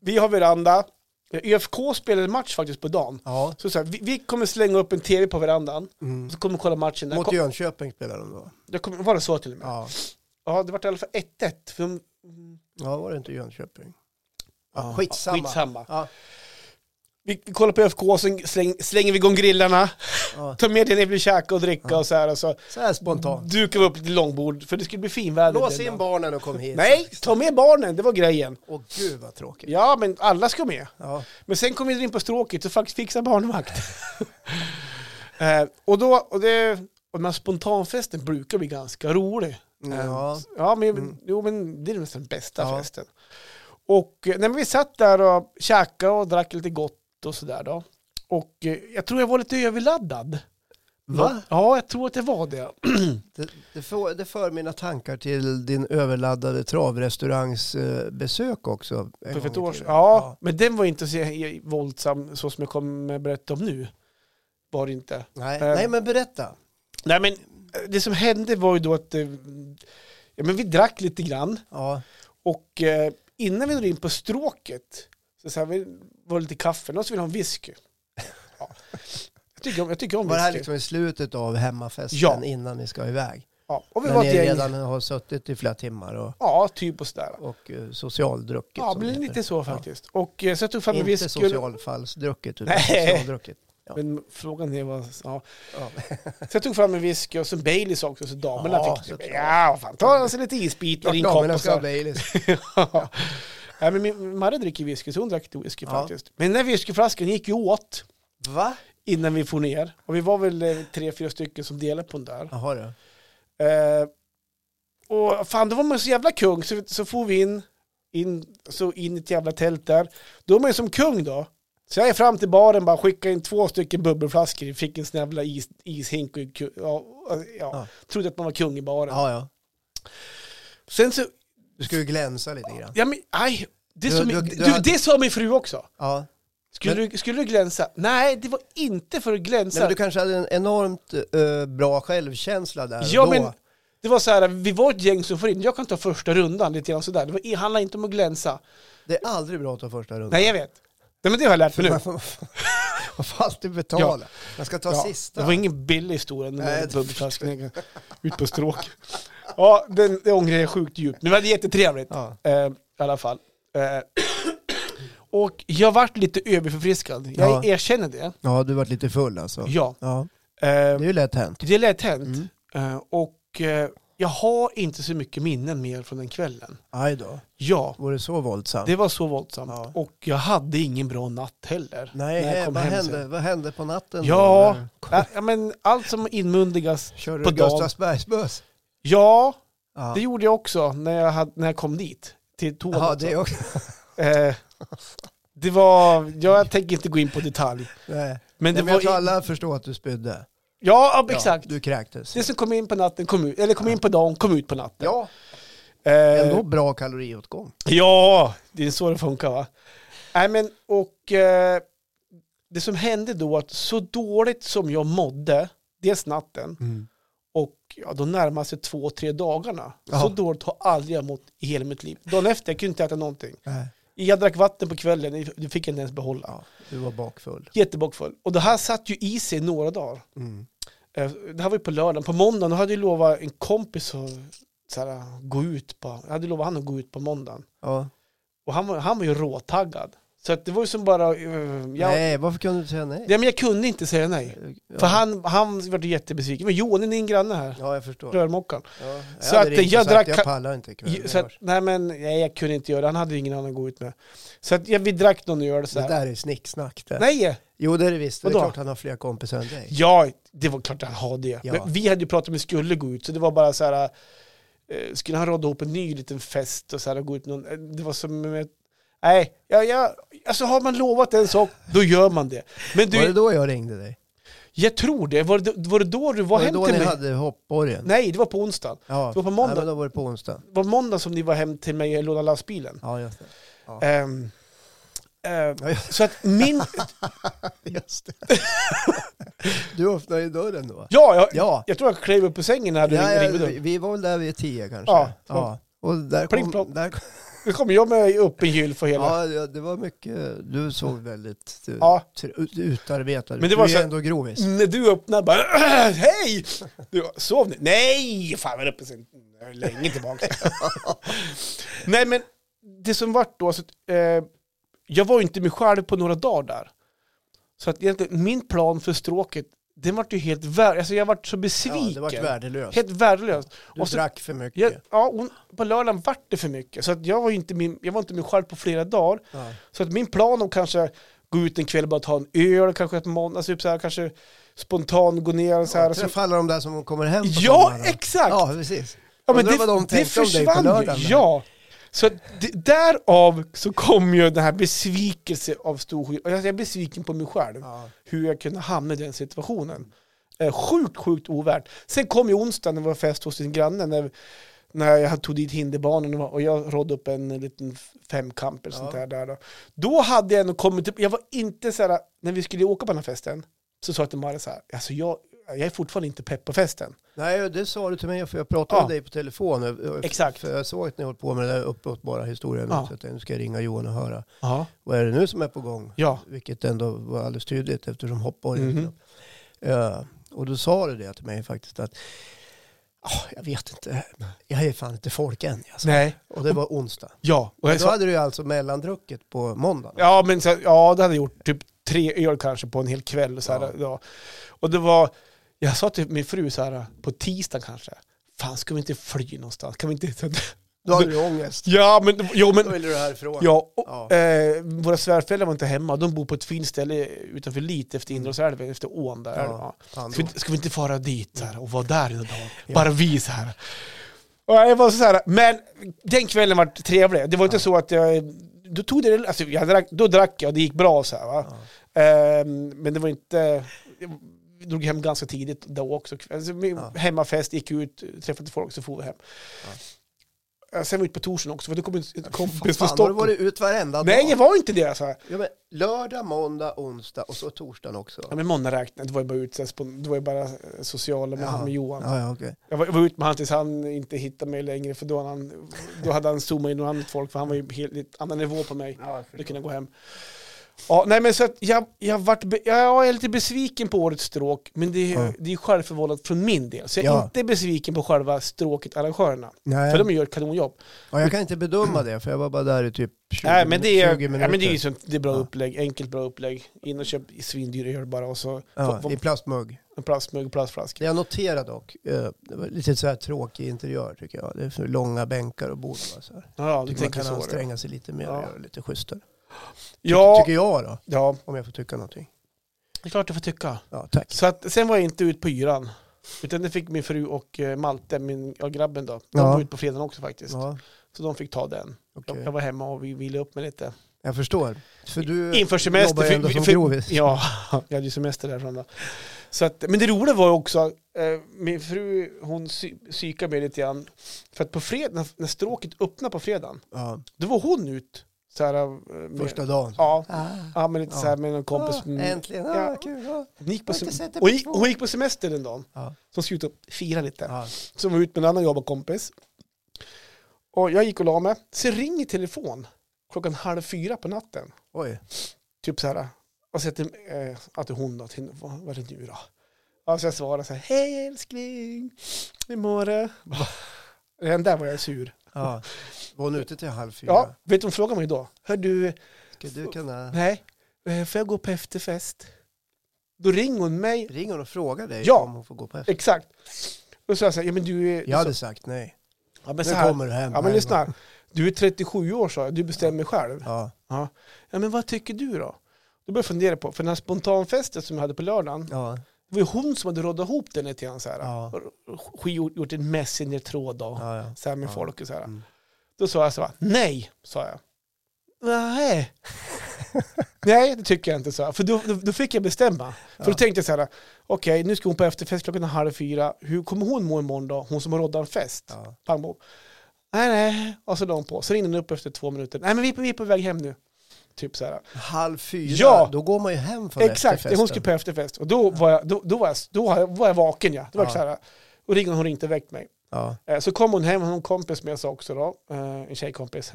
vi har veranda. ÖFK spelade match faktiskt på dagen. ja. Mm. Så, så här, vi, vi kommer slänga upp en tv på verandan, så kommer vi kolla matchen. Där. Mot Kom, Jönköping spelar de då. jag kommer, var det så till och med? Ja, Ja. det var i alla fall 1-1. För de, Ja, var det inte Jönköping? Ja, skitsamma. skitsamma. Ja, Vi, vi kollar på ÖFK, sen släng, slänger vi igång grillarna, ja. tar med det ni vill käka och dricka och så här. Och så. Så här spontant. dukar vi upp lite långbord, för det skulle bli finväder. Lås den in dagen. barnen och kom hit. Nej, ta med barnen, det var grejen. Åh gud vad tråkigt. Ja, men alla ska med. Ja. Men sen kom vi in på stråket och faktiskt fixa barnvakt. eh, och då, och det, och den här spontanfesten brukar bli ganska rolig. Eh, Ja. Mm. ja men, jo, men det är nästan den bästa Ja. festen. Och eh, nej, men vi satt där och käkade och drack lite gott och sådär då. Och eh, jag tror jag var lite överladdad. Va? Ja, jag tror att det var det. Det, det, får, det för mina tankar till din överladdade travrestaurangsbesök också. en gång För ett i år sedan. tiden. Ja, men den var inte så he- våldsam så som jag kommer att berätta om nu. Var det inte. Nej, Eh. nej, men berätta. Nej men eh, det som hände var ju då att eh, ja, men vi drack lite grann Ja, och eh, innan vi drog in på stråket så, så här, vi var det lite kaffe, någon som ville ha en whisky. Ja. Jag, tycker om, jag tycker om var det här whisky. liksom i slutet av hemmafesten Ja. innan ni ska iväg? Ja, och vi När var ni ett gäng, redan har suttit i flera timmar och, ja typ och sådär. och eh, socialdruckit. Ja, som det men heter. lite så faktiskt. Och eh, så jag tog fram en Inte whisky. socialfallsdruckit utan Nej. socialdruckit. Ja. Men frågan är vad... Ja. Ja. Så jag tog fram en whisky och så Baileys också, så damerna Ja, fick... såklart. Ja, vad fan, ta alltså lite isbitar i en kopp Damerna och ska ha så. Baileys. ja. Nej, men min Marre dricker whisky, så hon drack lite whisky Ja. faktiskt. Men den här whiskyflaskan gick ju åt Va? innan vi får ner. Och vi var väl eh, tre, fyra stycken som delade på den där. Jaha du. Eh, och fan, då var man så jävla kung så, så får vi in, in, så in i ett jävla tält där. Då är man ju som kung då. Så jag är fram till baren bara skickar in två stycken bubbelflaskor, fick en sån jävla is, ishink och ku- ja, ja, Ja. trodde att man var kung i baren. Ja, ja. Sen så, Du ska ju glänsa lite grann. ja men aj, det, Du- som, du- du, du hade- det sa min fru också. Ja. Skulle, du, skulle du glänsa? Nej, det var inte för att glänsa. Nej, men du kanske hade en enormt eh, bra självkänsla där och Ja, då. men det var så här, vi var ett gäng som får in, jag kan ta första rundan lite grann sådär. Det var, handlar inte om att glänsa. Det är aldrig bra att ta första rundan. Nej, jag vet. Nej, men det har jag lärt mig nu. Man får, man får alltid betala. Man ska ta Ja, sista. det var ingen billig historia när Nej, man det bubbelflaskan ut på stråk. Ja, den, det ångrar jag sjukt djupt. Men det var jättetrevligt Ja. eh, i alla fall. Eh, och jag vart lite överförfriskad. Jag Ja. erkänner det. ja, du varit lite full alltså. Ja. Ja, Eh, det är ju lätt hänt. det är lätt Mm. hänt. Eh, och eh, jag har inte så mycket minnen mer från den kvällen. Aj då, Ja, var det så våldsamt? det var så våldsamt. Ja. Och jag hade ingen bra natt heller. Nej, när jag eh, kom vad, hem hände? sen. vad hände på natten? Ja, då? ja, ja, men allt som inmundigas. Körde på du dagen. Gustavsbergsbuss? Ja, Ja, Det gjorde jag också när jag, hade, när jag kom dit. Till toan. ja alltså. det är också. eh, det var, jag tänker inte gå in på detalj. Nej. Men det Nej, men jag var, tror alla förstår att du spydde. ja, ja, exakt. Ja, du kräktes. Det som kom in på natten, kom ut, eller kom in på dagen, kom ut på natten. Ja, eh, ändå bra kaloriåtgång. ja det är så det funkar va? Nej men, och eh, det som hände då, att så dåligt som jag mådde, dels natten, och ja, de närmaste två, tre dagarna, Jaha. så dåligt har aldrig jag mått i hela mitt liv. Dagen efter, jag kunde inte äta någonting. Nej. Jag drack vatten på kvällen, det fick jag inte ens behålla. Ja, du var bakfull. Jättebakfull. Och det här satt ju i sig några dagar. Eh, Det här var ju på lördagen. På måndagen då hade jag lovat en kompis att så här, gå ut på, jag hade lovat han att gå ut på måndagen. Ja. Och han var, han var ju råtaggad. Så att det var ju som bara, eh, jag, Nej, varför kunde du inte säga nej? ja, men jag kunde inte säga nej. Ja. För han, han var ju jättebesviken. Men Johan är din granne här, Ja, jag förstår. rörmokaren. Ja, Så hade att ringt och jag sagt, drack- Jag pallar inte ikväll. Ju- det Så att, hörs. nej men nej, jag kunde inte göra det, han hade ju ingen annan att gå ut med. Så att jag, vi drack någon öl så Det här. där är snicksnack det. Nej! Jo, det är det visst. Det är Vadå? klart han har fler kompisar än dig. Ja, det var klart han har det. Ja. Men vi hade ju pratat om att vi skulle gå ut, så det var bara så här, eh, skulle han råda ihop en ny liten fest och så här, och gå ut någon, eh, det var som, med- nej, ja, ja, alltså har man lovat en sak, då gör man det. Men Var det du, då jag ringde dig? jag tror det, var det, var det då du var, var det hem då till ni mig? hade hoppborgen? Nej, det var på onsdagen. Ja. Det var på Nej, måndag, men då var det på onsdag. det var måndag som ni var hem till mig och lånade lastbilen. Ja, just det. Ehm, ehm, Ja, just- så att min, Just det. du öppnade ju dörren då. ja, jag, Ja. jag tror jag klev upp på sängen när du Ja, ja, ringde. vi- vi var väl där vid tio kanske. Ja. Och där Pling kom, plong. där kom, Då kom jag med upp en gyll för hela ja, ja, det var mycket, du såg väldigt du, Ja. tr- utarbetad ut. Men det var du så- Mm. är ändå grovis. När du öppnar bara hej! Du, sov ni? Nej! Fan vad uppe sen länge tillbaka. Nej men det som vart då, så att, eh, jag var ju inte mig själv på några dagar där. Så att egentligen min plan för stråket, den vart ju helt värdelös. Alltså jag vart så besviken. Ja, det var värdelöst. helt värdelöst. Du Och så, drack för mycket. jag, ja, hon, på lördagen vart det för mycket. Så att jag var ju inte min, jag var inte min själv på flera dagar. Ja. Så att min plan om kanske gå ut en kväll och bara ta en öl, kanske ett måndag, alltså typ så här, kanske spontan gå ner och så här. Ja, Ja, så, träffa alla de där som kommer hem på ja sommaren. exakt! Ja, precis. Ja, men Undrar vad de tänkte om dig på lördagen. ju. Ja. Så att det, därav så kom ju den här besvikelse av stor skit. Alltså jag är besviken på mig själv, Ja. hur jag kunde hamna i den situationen. Eh, sjukt, sjukt ovärt. Sen kom ju onsdagen när det var fest hos din granne, när, när jag tog dit hinderbanan och- och jag rådde upp en liten femkamp eller sånt Ja. där. där då. då hade jag ändå kommit upp, jag var inte så här, när vi skulle åka på den här festen, så sa jag till Maria så här, alltså jag, jag är fortfarande inte pepp på festen. Nej, det sa du till mig, för jag pratade Ja. med dig på telefon. Jag- Exakt. För jag såg att ni höll på med den där uppåtbara historien. Ja. Så jag tänkte, nu ska jag ringa Johan och höra. Ja. Vad är det nu som är på gång? Ja. Vilket ändå var alldeles tydligt eftersom hoppborgen Mhm. mm Eh, Och då sa du det till mig faktiskt att "Ah, jag vet inte, jag är fan inte folk än. Jag sa. Nej. Och det var onsdag. Ja. Och jag Då sa, hade du ju alltså mellandrucket på måndag. Ja, men så, ja, det hade jag gjort typ tre öl kanske på en hel kväll. Och, så här, Ja. ja. och det var, jag sa till min fru så här, på tisdagen kanske, fan ska vi inte fly någonstans? Kan vi inte så, Då hade du ångest. Ja, men... Jo, Då men ville du härifrån. ja, och, Ja. Eh, våra svärföräldrar var inte hemma. De bor på ett fint ställe utanför lite efter Indalsälven, efter ån där. Ja. Ja. Fan, Ska då. vi, ska vi inte fara dit där och vara där en dag? Ja. Bara vi så här. Och jag var så här, men den kvällen var trevlig. Det var inte så att jag... Då, tog det, alltså jag drack, då drack jag och det gick bra så här va. Ehm, men det var inte... Jag drog hem ganska tidigt då också. Alltså, min Ja. Hemmafest, gick ut, träffade folk, så for vi hem. Eh, Sen var vi ut på torsdagen också, för då kom en kompis från Fan, har du Stockholm. varit ut varenda Nej, dag? jag var inte det. alltså. Så här. Ja, men lördag, måndag, onsdag och så torsdagen också. Ja, men måndag räknade, det var ju bara ut, så här spon- det var ju bara eh, sociala med, Ja. han med Johan. Ja, ja, okej. Jag var, jag var ute med honom tills han inte hittade mig längre för då, hade han, då hade han zoomat in något annat folk för han var ju på helt lite annan nivå på mig. Då kunde jag gå hem. Ja, nej men så att jag, jag, vart be, jag, jag är lite besviken på årets stråk men det, Ja. är det är självförvållat från min del. Så jag är Ja. inte besviken på själva stråket arrangörerna. Nej. För de gör ett kanonjobb. Ja, jag kan inte bedöma det, för jag var bara där i typ 20, Nej, men det är, 20 ja, minuter. men det är, ju sånt, det är bra Ja. upplägg, enkelt bra upplägg. In och köp svindyra öl bara och så Ja, få- I plastmugg. få en plastmugg och plastflaska. Det jag noterar dock, eh, det var lite så här tråkig interiör tycker jag. Det är för långa bänkar och bord. va, Så här. Ja, du Tycker man tänker kan så. då. anstränga sig lite mer och Ja. göra det lite schysstare. Ja, Tycker jag då, ja, om jag får tycka någonting. det är klart du får tycka. Ja, tack. Så att, sen var jag inte ute på yran. Utan det fick min fru och eh, Malte, min ja, grabben då. De Ja. var ute på fredagen också faktiskt. Ja, Så de fick ta den. Jag- okej. Jag var hemma och vi ville upp mig lite. Jag förstår. För du Inför semester. jobbar ju för- ändå som för- grovis. Ja, jag hade ju semester därifrån då. Så att, men det roliga var ju också, eh, min fru hon sy- psykade mig lite grann. För att på fredag, när- när stråket öppnade på fredagen, Ja, då var hon ut. Så här, eh, med, första dagen. Ja, Ah. ja, men lite Ja. så här med någon kompis. Ah, äntligen, ah, Ja. kul. Ah. Hon gick, på Jag har inte sem- sett det på hon, gick, två hon gick på semester den dagen. Ja. Så hon skulle ut och fira lite. Ja. som var ute med en annan jobbarkompis. Och jag gick och la mig. Sen ringer telefon klockan halv fyra på natten. Oj, Typ så här. Och så att det, eh, att det är hon då. Till, vad, vad är det nu då? Och så jag svarar så här. Hej älskling. Hur mår du? Redan där var jag sur. ja. Ah. var hon ute till halv fyra? Ja, vet du hon frågade mig då? Hör du, Ska du kunna... nej, eh, får jag gå på efterfest? Då ringer hon mig. Ring hon och fråga dig Ja. om hon får gå på efter. Exakt. Och så sa jag så här, ja men du är... Jag hade sagt nej. ja, men Nu så här, kommer du hem. ja men lyssna. Du är 37 år sa jag, du bestämmer själv. Ja, Ja, men vad tycker du då? Då började jag fundera på, för den här spontanfesten som jag hade på lördagen, ja. det var ju hon som hade råddat ihop den lite grann så här. Ja. Och Gjort, gjort en messenger-tråd då, ja, ja. så här med Ja. folk och så här. Mm. Då sa jag så här, nej, sa jag. Nej. nej, det tycker jag inte, så. För då, då, då fick jag bestämma. För då Ja. tänkte jag så här, okej, nu ska hon på efterfest klockan halv fyra, hur kommer hon må imorgon då? Hon som har råddat en fest. Ja. Pang bom. Nej, nej. Och så la hon på. Så ringde hon upp efter två minuter. Nej, men vi är på, vi är på väg hem nu. Typ så här. Halv fyra, Ja. då går man ju hem från Exakt, efterfesten. hon skulle på efterfest. Och då var jag, då, då var jag, då var jag, var jag vaken ja. Det var Ja. så här, och ringde hon inte väckt mig. Ja. Eh, Så kom hon hem, hon har en kompis med sig också då, eh, en tjejkompis,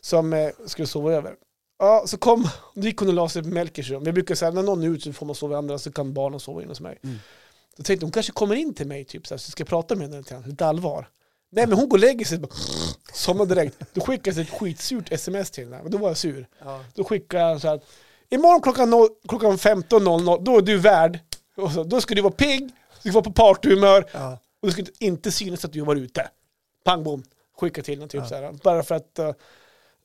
som eh, skulle sova över. Ja, så kom, då gick hon och la sig på Melkers rum. Jag brukar säga när någon är ute så får man sova i andra, så kan barnen sova inne hos mig. Mm. Då tänkte jag, hon kanske kommer in till mig typ så här, så ska jag prata med henne lite grann, lite allvar. Nej men hon går och lägger sig, bara, somnar direkt. Då skickas ett skitsurt sms till henne, och då var jag sur. Ja. Då skickar jag så här. Imorgon klockan, noll- klockan 15.00, då är du värd. Och så, då ska du vara pigg, du ska vara på partyhumör Ja. och det ska inte- inte synas att du var ute. Pang bom, skicka till henne typ så här. Bara för att, eh,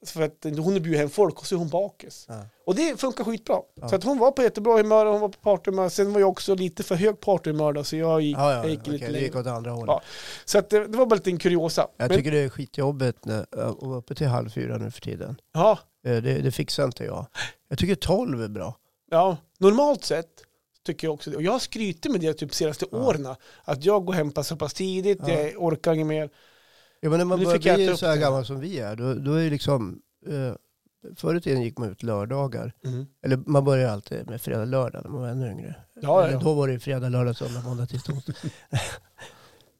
för att hon bjuder hem folk och så är hon bakis. Ja. Och det funkar skitbra. Så att hon var på jättebra humör och hon var på partyhumör. Sen var jag också lite för hög partyhumör då, så jag gick, Ja, ja, jag gick okej, lite det gick längre. åt andra hållet. Ja. Så att, det, det var bara lite en kuriosa. Jag Men- tycker det är skitjobbigt när- att vara uppe till halv fyra nu för tiden. ja, Eh, Det, det fixar inte jag. Jag tycker tolv är bra. Ja, normalt sett tycker jag också det. Och jag har skrytit med det typ senaste Ja. åren. Att jag går hem pass så pass tidigt, Ja. jag orkar inget mer. Ja, men när man Nu börjar fick jag äta bli upp så här det. gammal som vi är, då, då är det liksom... Eh, förr i tiden gick man ut lördagar. Eller man börjar alltid med fredag, lördag när man var ännu yngre. Ja, Eller ja. Då var det ju fredag, lördag, söndag, måndag, tisdag, onsdag.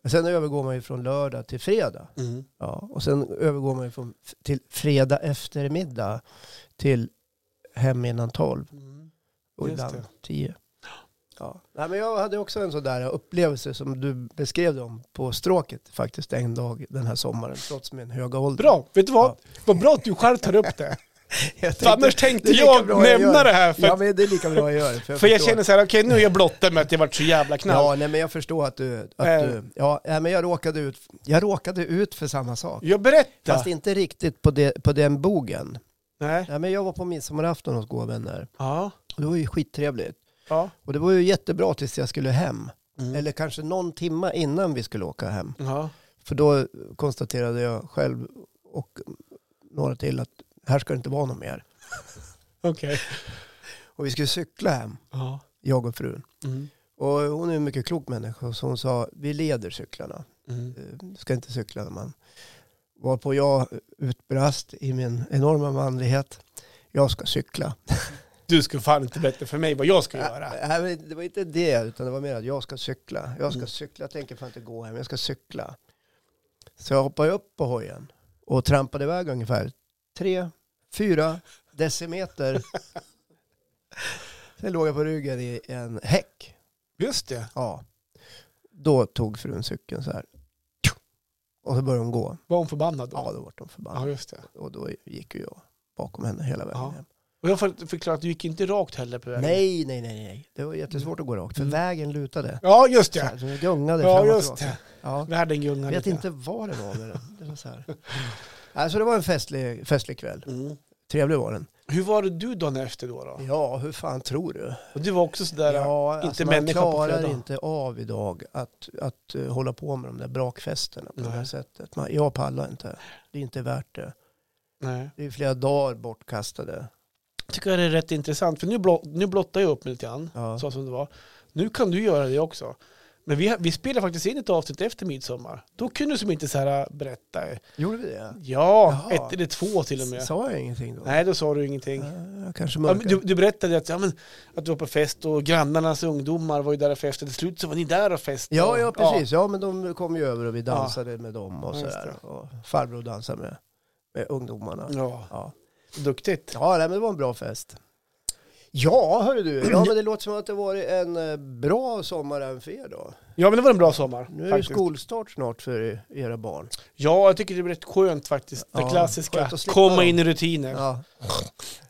Men sen övergår man ju från lördag till fredag. Mm. Ja, och sen övergår man ju från, till fredag eftermiddag till hem innan tolv. Mm. Och Just ibland det. tio. Ja. Nej, men jag hade också en sån där upplevelse som du beskrev dem på stråket faktiskt en dag den här sommaren, trots min höga ålder. Bra, vet du vad? Vad bra att du själv tar upp det. Jag För annars tänkte är lika jag bra gör nämna det här, för ja, att- men det är lika bra jag gör det, För jag förstår. känner så här, okej nu är jag blottad med att jag varit så jävla knall. Ja, nej, men jag förstår att du... Att Eh. du ja, nej, men jag råkade, ut, jag råkade ut för samma sak. Jag berättar. Fast inte riktigt på, det, på den bogen. Nej. Nej, men jag var på midsommarafton hos goda vänner. Ja. Och Det var ju skittrevligt. Ja. Och det var ju jättebra tills jag skulle hem. Mm. Eller kanske någon timma innan vi skulle åka hem. ja. För då konstaterade jag själv och några till att här ska det inte vara något mer. Okej. Och vi skulle cykla hem, Ja. jag och frun. Mm. Och hon är en mycket klok människa så hon sa vi leder cyklarna. Mm. Eh, Du ska inte cykla när man. Varpå jag utbrast i min enorma manlighet. Jag ska cykla. Du ska fan inte berätta för mig vad jag ska göra. Nej, nej, men Äh, det var inte det, utan det var mer att jag ska cykla. Jag ska Mm. cykla, jag tänker fan inte gå hem, jag ska cykla. Så jag hoppade upp på hojen och trampade iväg ungefär tre, fyra decimeter. Sen låg jag på ryggen i en häck. Just det. Ja. Då tog frun cykeln så här. Och så började hon gå. Var hon förbannad då? Ja, då var de förbannade. Ja, just det. Och då gick ju jag bakom henne hela vägen Ja. hem. Och jag får förklara att du gick inte rakt heller på vägen. Nej, nej, nej, nej. Det var jättesvårt att gå rakt, för Mm. vägen lutade. Ja, just Så det. här, Alltså, så det gungade Ja, fram och just tillbaka. det. Ja. Världen gungar Jag vet lite. inte vad det var med den. Det var så här. Alltså det var en festlig, festlig kväll. Mm. Trevlig var den. Hur var det du dagen efter då? då? Ja, hur fan tror du? Och du var också sådär... ja, alltså, inte man människa på klarar fredag. inte av idag att, att eh, hålla på med de där brakfesterna på det här Nej. sättet. Man, jag pallar inte. Det är inte värt det. Nej. Det är flera dagar bortkastade. Tycker jag det är rätt intressant. För nu, blott, nu blottar jag upp mig lite grann. Ja. Så som det var. Nu kan du göra det också. Men vi, vi spelade faktiskt in ett avsnitt efter midsommar. Då kunde du som inte så här äh, berätta. Gjorde vi det? Ja, Jaha. ett eller två till och med. Sa jag ingenting då? Nej, då sa du ingenting. Eh, Jag kanske Ja, mörkade. men du, du berättade att, ja, men, att du var på fest och grannarnas ungdomar var ju där och festade. Till slut så var ni där och festade. Ja, ja precis. Ja. men de kom ju över och vi dansade med dem och Ja, just sådär. Och farbror dansade med, med ungdomarna. Ja, ja. Ja, duktigt. ja nej, men det var en bra fest. Ja, hörru du. Ja, men det låter som att det varit en eh, bra sommar även för er då. Ja, men det var en bra sommar. Nu är det faktiskt. skolstart snart för era barn. Ja, jag tycker det är rätt skönt faktiskt. Det Ja, klassiska. skönt att slippa Komma dem. in i rutiner. Ja,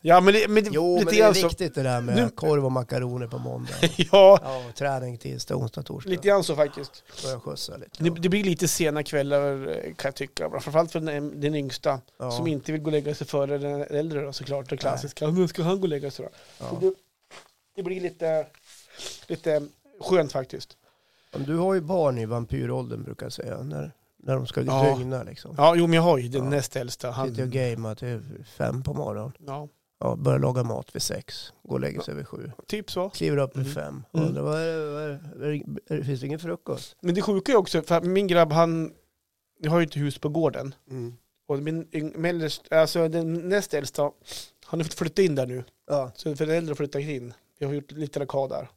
Ja. men, det, men det, Jo, men lite det är grann så. viktigt det där med Nu- korv och makaroner på måndag. Ja, Ja, och träning tisdag, onsdag, torsdag. lite grann så faktiskt. Börja skjutsa lite. Det, det blir lite sena kvällar eh, kan jag tycka. Framförallt för den, den yngsta. Ja, Som inte vill gå och lägga sig före den äldre då såklart. Det klassiska. Nu ska han gå och lägga sig då. ja. Det, det blir lite, lite skönt faktiskt. Men Du har ju barn i vampyråldern brukar jag säga. När, när de ska Ja. dygna liksom. Ja, jo men jag har ju den Ja. näst äldsta. Sitter och Han, gamea till fem på morgonen. ja, Ja, börjar laga mat vid sex. Går och lägger sig vid sju. typ så. Kliver upp vid Mm. fem. Mm. Undrar, vad är det, vad är det, är det, finns det ingen frukost? Men det sjuka är också, för min grabb han, jag har ju ett hus på gården. Och min, yng- mellerst, alltså den näst äldsta, han har fått flytta in där nu. Ja. Så för den äldre flyttar in. Jag har gjort lite arkad där.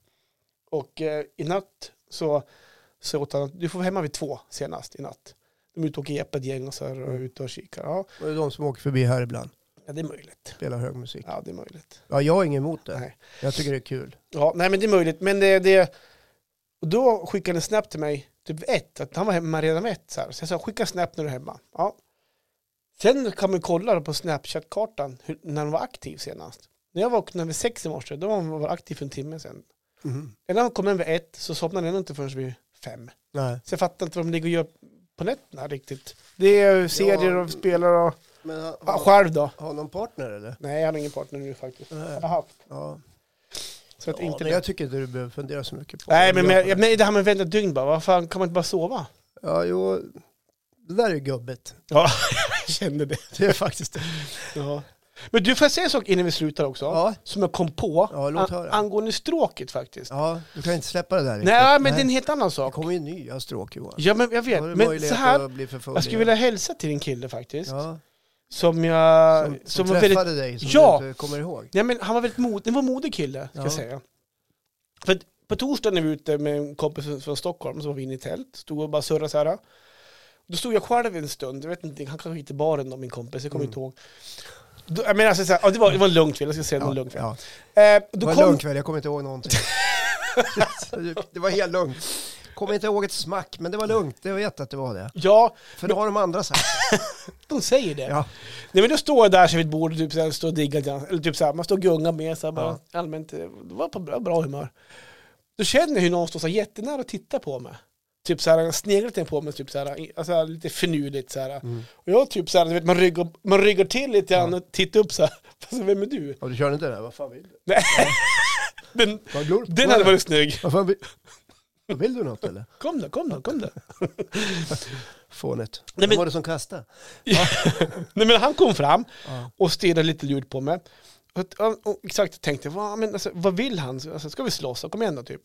Och eh, i natt så sa jag åt honom att du får vara hemma vid två senast i natt. De är ute och åker jepp ett gäng och så här och är ute och kikar. Ja, Och det är de som åker förbi här ibland. ja, det är möjligt. Spelar hög musik. Ja, det är möjligt. Ja, jag har inget emot det. Nej. Jag tycker det är kul. Ja, nej men det är möjligt. Men det, det, och då skickade han en snap till mig, typ ett, att han var hemma redan vid ett. Så, här. så jag sa, skicka snap när du är hemma. Ja. Sen kan man kolla på Snapchat-kartan hur, när han var aktiv senast. När jag vaknade vid sex i morse, då var han aktiv för en timme sedan. Innan han kom hem vid ett så somnade han inte förrän vid fem. Nej. Så jag fattar inte vad de ligger och gör på nätterna riktigt. Det är ju serier och spelar och... Men har, Ja, själv då? har någon partner eller? Nej, han har ingen partner nu faktiskt. Nej. Jag har haft. Ja. Så att ja, inte men det. jag tycker inte du behöver fundera så mycket på Nej, det. men, men, men det här med att vänta ett dygn bara. Vad fan, kan man inte bara sova? Ja, jo. Det där är ju gubbigt. Ja, jag kände det. Det är faktiskt det. Ja. Men du, får jag säga en sak innan vi slutar också? Ja. Som jag kom på. Ja, låt höra. angående stråket faktiskt. Ja, du kan inte släppa det där riktigt. Nej, men det är en helt annan Det sak. kommer ju nya stråk Johan. Ja, men jag vet. Då har du Men möjlighet så här, att bli förföljd jag skulle vilja hälsa till en kille faktiskt. Ja, Som jag... som, som, var träffade dig väldigt, som Ja! du inte kommer ihåg. nej, men han var väldigt mod, han var en modig kille, ska Ja. jag säga. För att på torsdagen när vi var ute med en kompis från- från Stockholm så var vi inne i tält. Stod och bara surrade så här. Då stod jag själv en stund, jag vet inte, han kanske gick till baren då, min kompis, jag kommer Mm. inte ihåg. Då, jag menar, alltså, så här, ja, det, var, det var en lugn kväll, jag ska säga det var en lugn kväll. ja. Eh, Det då var kom, lugn kväll, jag kommer inte ihåg någonting. det var helt lugnt. Kommer inte ihåg ett smack, men det var lugnt. Jag vet att det var det. Ja, För det har de andra sagt. de säger det. Ja. Nej men då står jag där så vid ett bord och typ så här, står och diggar lite grann. Eller typ så här, man står och gungar med så här, bara allmänt. eh, Det var på bra, bra humör. Då känner jag hur någon står så här jättenära och tittar på mig. Typ så här, sneglar lite på mig, typ så här, i- alltså, lite finurligt så här. Och jag typ så här, du vet, man ryggar, man ryggar till lite grann och tittar upp så här. Alltså, vem är du? Ja, du körde inte det? Vad fan vill du? Den, Vad glor den hade varit snygg. Vad fan vill... Vill du något eller? Kom då, kom då, kom då. Fånigt. Nej, Nej, men- men... var det som kastade? Nej men han kom fram Ja. och stirrade lite lurt på mig. Och, och, och exakt tänkte, vad, men, alltså, vad vill han? Alltså, ska vi slåss? Kom igen då typ.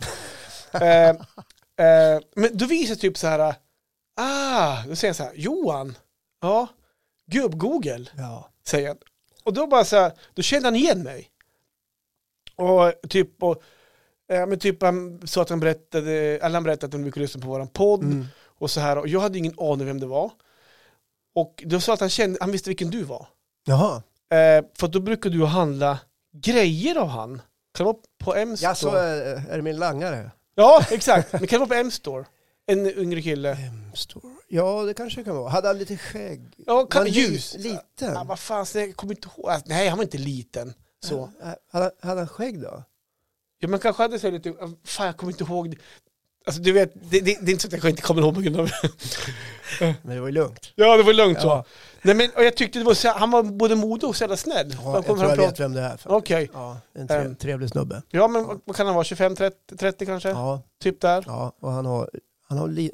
eh, eh, men då visar typ så här, ah, då säger han så här, Johan, ja, gubb-Google, Ja. säger han. Och då bara så här, då kände han igen mig. Och typ, och, eh, men typ han sa att han berättade, eller han berättade att de brukar lyssna på våran podd Mm. och så här, och jag hade ingen aning vem det var. Och då sa att han kände, han visste vilken du var. Jaha. Eh, för att då brukar du handla grejer av han. Kan det vara på Jag så M-store? är, är det min langare? Ja, exakt. Men kan det vara på M-store? En yngre kille. M-store. Ja, det kanske det kan vara. Hade han lite skägg? Ja, kan, Var han ljus. li- Ja, Liten? vad fan, så jag kommer inte ihåg. Alltså, nej, han var inte liten. Så. Äh, Hade, han- hade han skägg då? Ja, men kanske hade så här lite, fan jag kommer inte ihåg. det. Alltså du vet, det, det, det är inte så att jag inte kommer ihåg på grund av... Men det var ju lugnt. Ja, det var lugnt så. Ja. Nej, men, och jag tyckte det var så, han var både modig och så jävla snäll. Ja, Han jag kom tror fram och jag vet pratade. vem det är. faktiskt. Okej. Ja, en tre, Ehm. trevlig snubbe. Ja, men vad- vad kan han vara? 25, 30, 30 kanske? Ja, Typ där. ja och han har, han har li,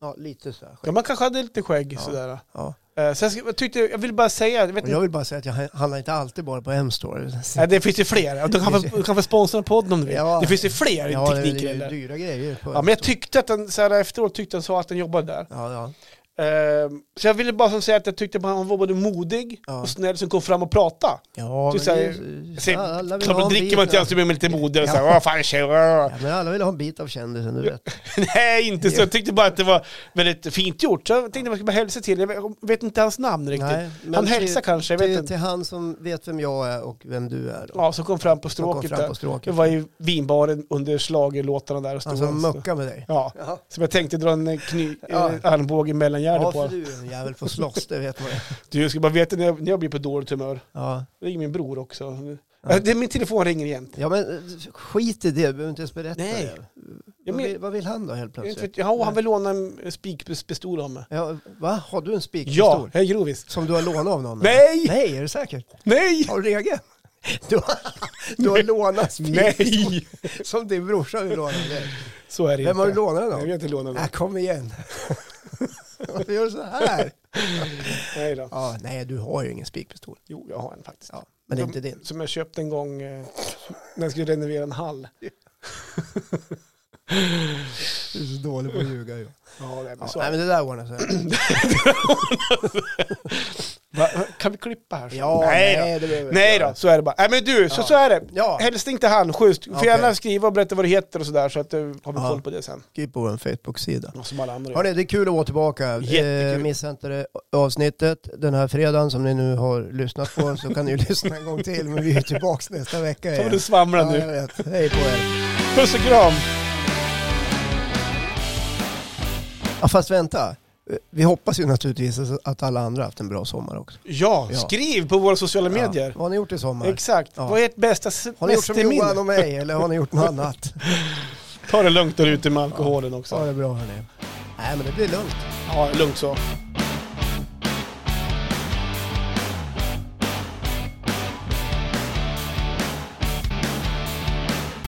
ja, lite så här Ja, skägg. man kanske hade lite skägg Ja. sådär. Ja. Eh, Sen ska- jag tyckte, jag vill bara säga, jag vet Och inte, jag vill bara säga att jag handlar inte alltid bara på M-store. nej, det finns ju fler. Och Du kan, få- du kan få sponsra podden om du vill. Ja. Det finns ju fler Ja, det tekniker. är ju Eller. dyra grejer. På Ja, men jag tyckte att han, så här, efteråt tyckte han sa att han jobbade där. ja, ja. Eh, Så jag ville bara som säga att jag tyckte att han var både modig Ja. och snäll som kom fram och pratade. ja Du men säger- det är- Sen, alla vill ha klart, en dricker bit man inte av- ens så blir man lite modig och Ja. så här, "Åh, fan tjej, åh." Ja, men alla vill ha en bit av kändisen, du vet. Nej, inte så. Jag tyckte bara att det var väldigt fint gjort. Så jag tänkte att jag skulle bara hälsa till. Jag vet inte hans namn riktigt. Nej, men han hälsar till- kanske, jag vet Till, inte. till han som vet vem jag är och vem du är. Då. Ja, som kom fram på Som kom stråket fram där. på Jag stråket. var i vinbaren under schlagerlåtarna där och stod Han som och- muckar med dig. Ja, Ja, som jag tänkte dra en kny, Ja. eh, armbåge mellan hjärnan ja för på. du är en jävel på att slåss, det vet man ju. Du, jag ska bara veta när jag, när jag blir på dåligt humör. ja. Ring min bror också. Eh, Det är min telefon ringer igen. ja, men eh, skit i det, du behöver inte ens berätta Nej. det. Jag Vad men- vill, vad vill han då helt Jag vet plötsligt? inte, Ja, han vill låna en spikpistol av mig. Ja, va? Har du en Ja, spikpistol? hej Grovis. Som du har lånat av någon? Nej, Nej, är det säkert? nej, Har du egen? Du har, du har lånat spikpistol nej. som din brorsa vill låna. av dig. Så är det Vem har du inte. lånat den Nej, av? vi har inte lånat Ja, den. kom igen. Varför gör du så här? Nej då. Ja, nej, du har ju ingen spikpistol. Jo, jag har en faktiskt. Ja, men det är inte din. Som jag köpte en gång eh, när jag skulle renovera en hall. Du är så dålig på att ljuga. ju. Ja, nej, men Ja, så är nej, det. men det där ordnar sig. Va? Kan vi klippa här? så? Ja, nej, då. det behöver vi inte Nej då, göra. så är det bara. Nej men du, så, Ja. så är det. Ja, Helst inte han, schysst. Du får Okej. gärna skriva och berätta vad du heter och sådär så att du har vi Ja. koll på det sen. skriv på vår Facebook-sida. Och Som alla andra gör. Hörrni, det är kul att vara tillbaka. Jättekul. Eh, missa inte det avsnittet den här fredagen som ni nu har lyssnat på så kan ni ju lyssna en gång till men vi är tillbaka nästa vecka Som igen. du svamlar Ja, jag nu. vet. Hej på er. Puss och kram! Ja, fast vänta. Eh, Vi hoppas ju naturligtvis att alla andra har haft en bra sommar också. Ja, Ja. skriv på våra sociala medier. Ja. Vad har ni gjort i sommar? Exakt. Ja. Vad är ert bästa s- har ni gjort som Johan mästerminne? och mig eller har ni gjort något annat? Ta det lugnt där ute med alkoholen också. Ha det bra hörni. Nej men det blir lugnt. Ja, lugnt så.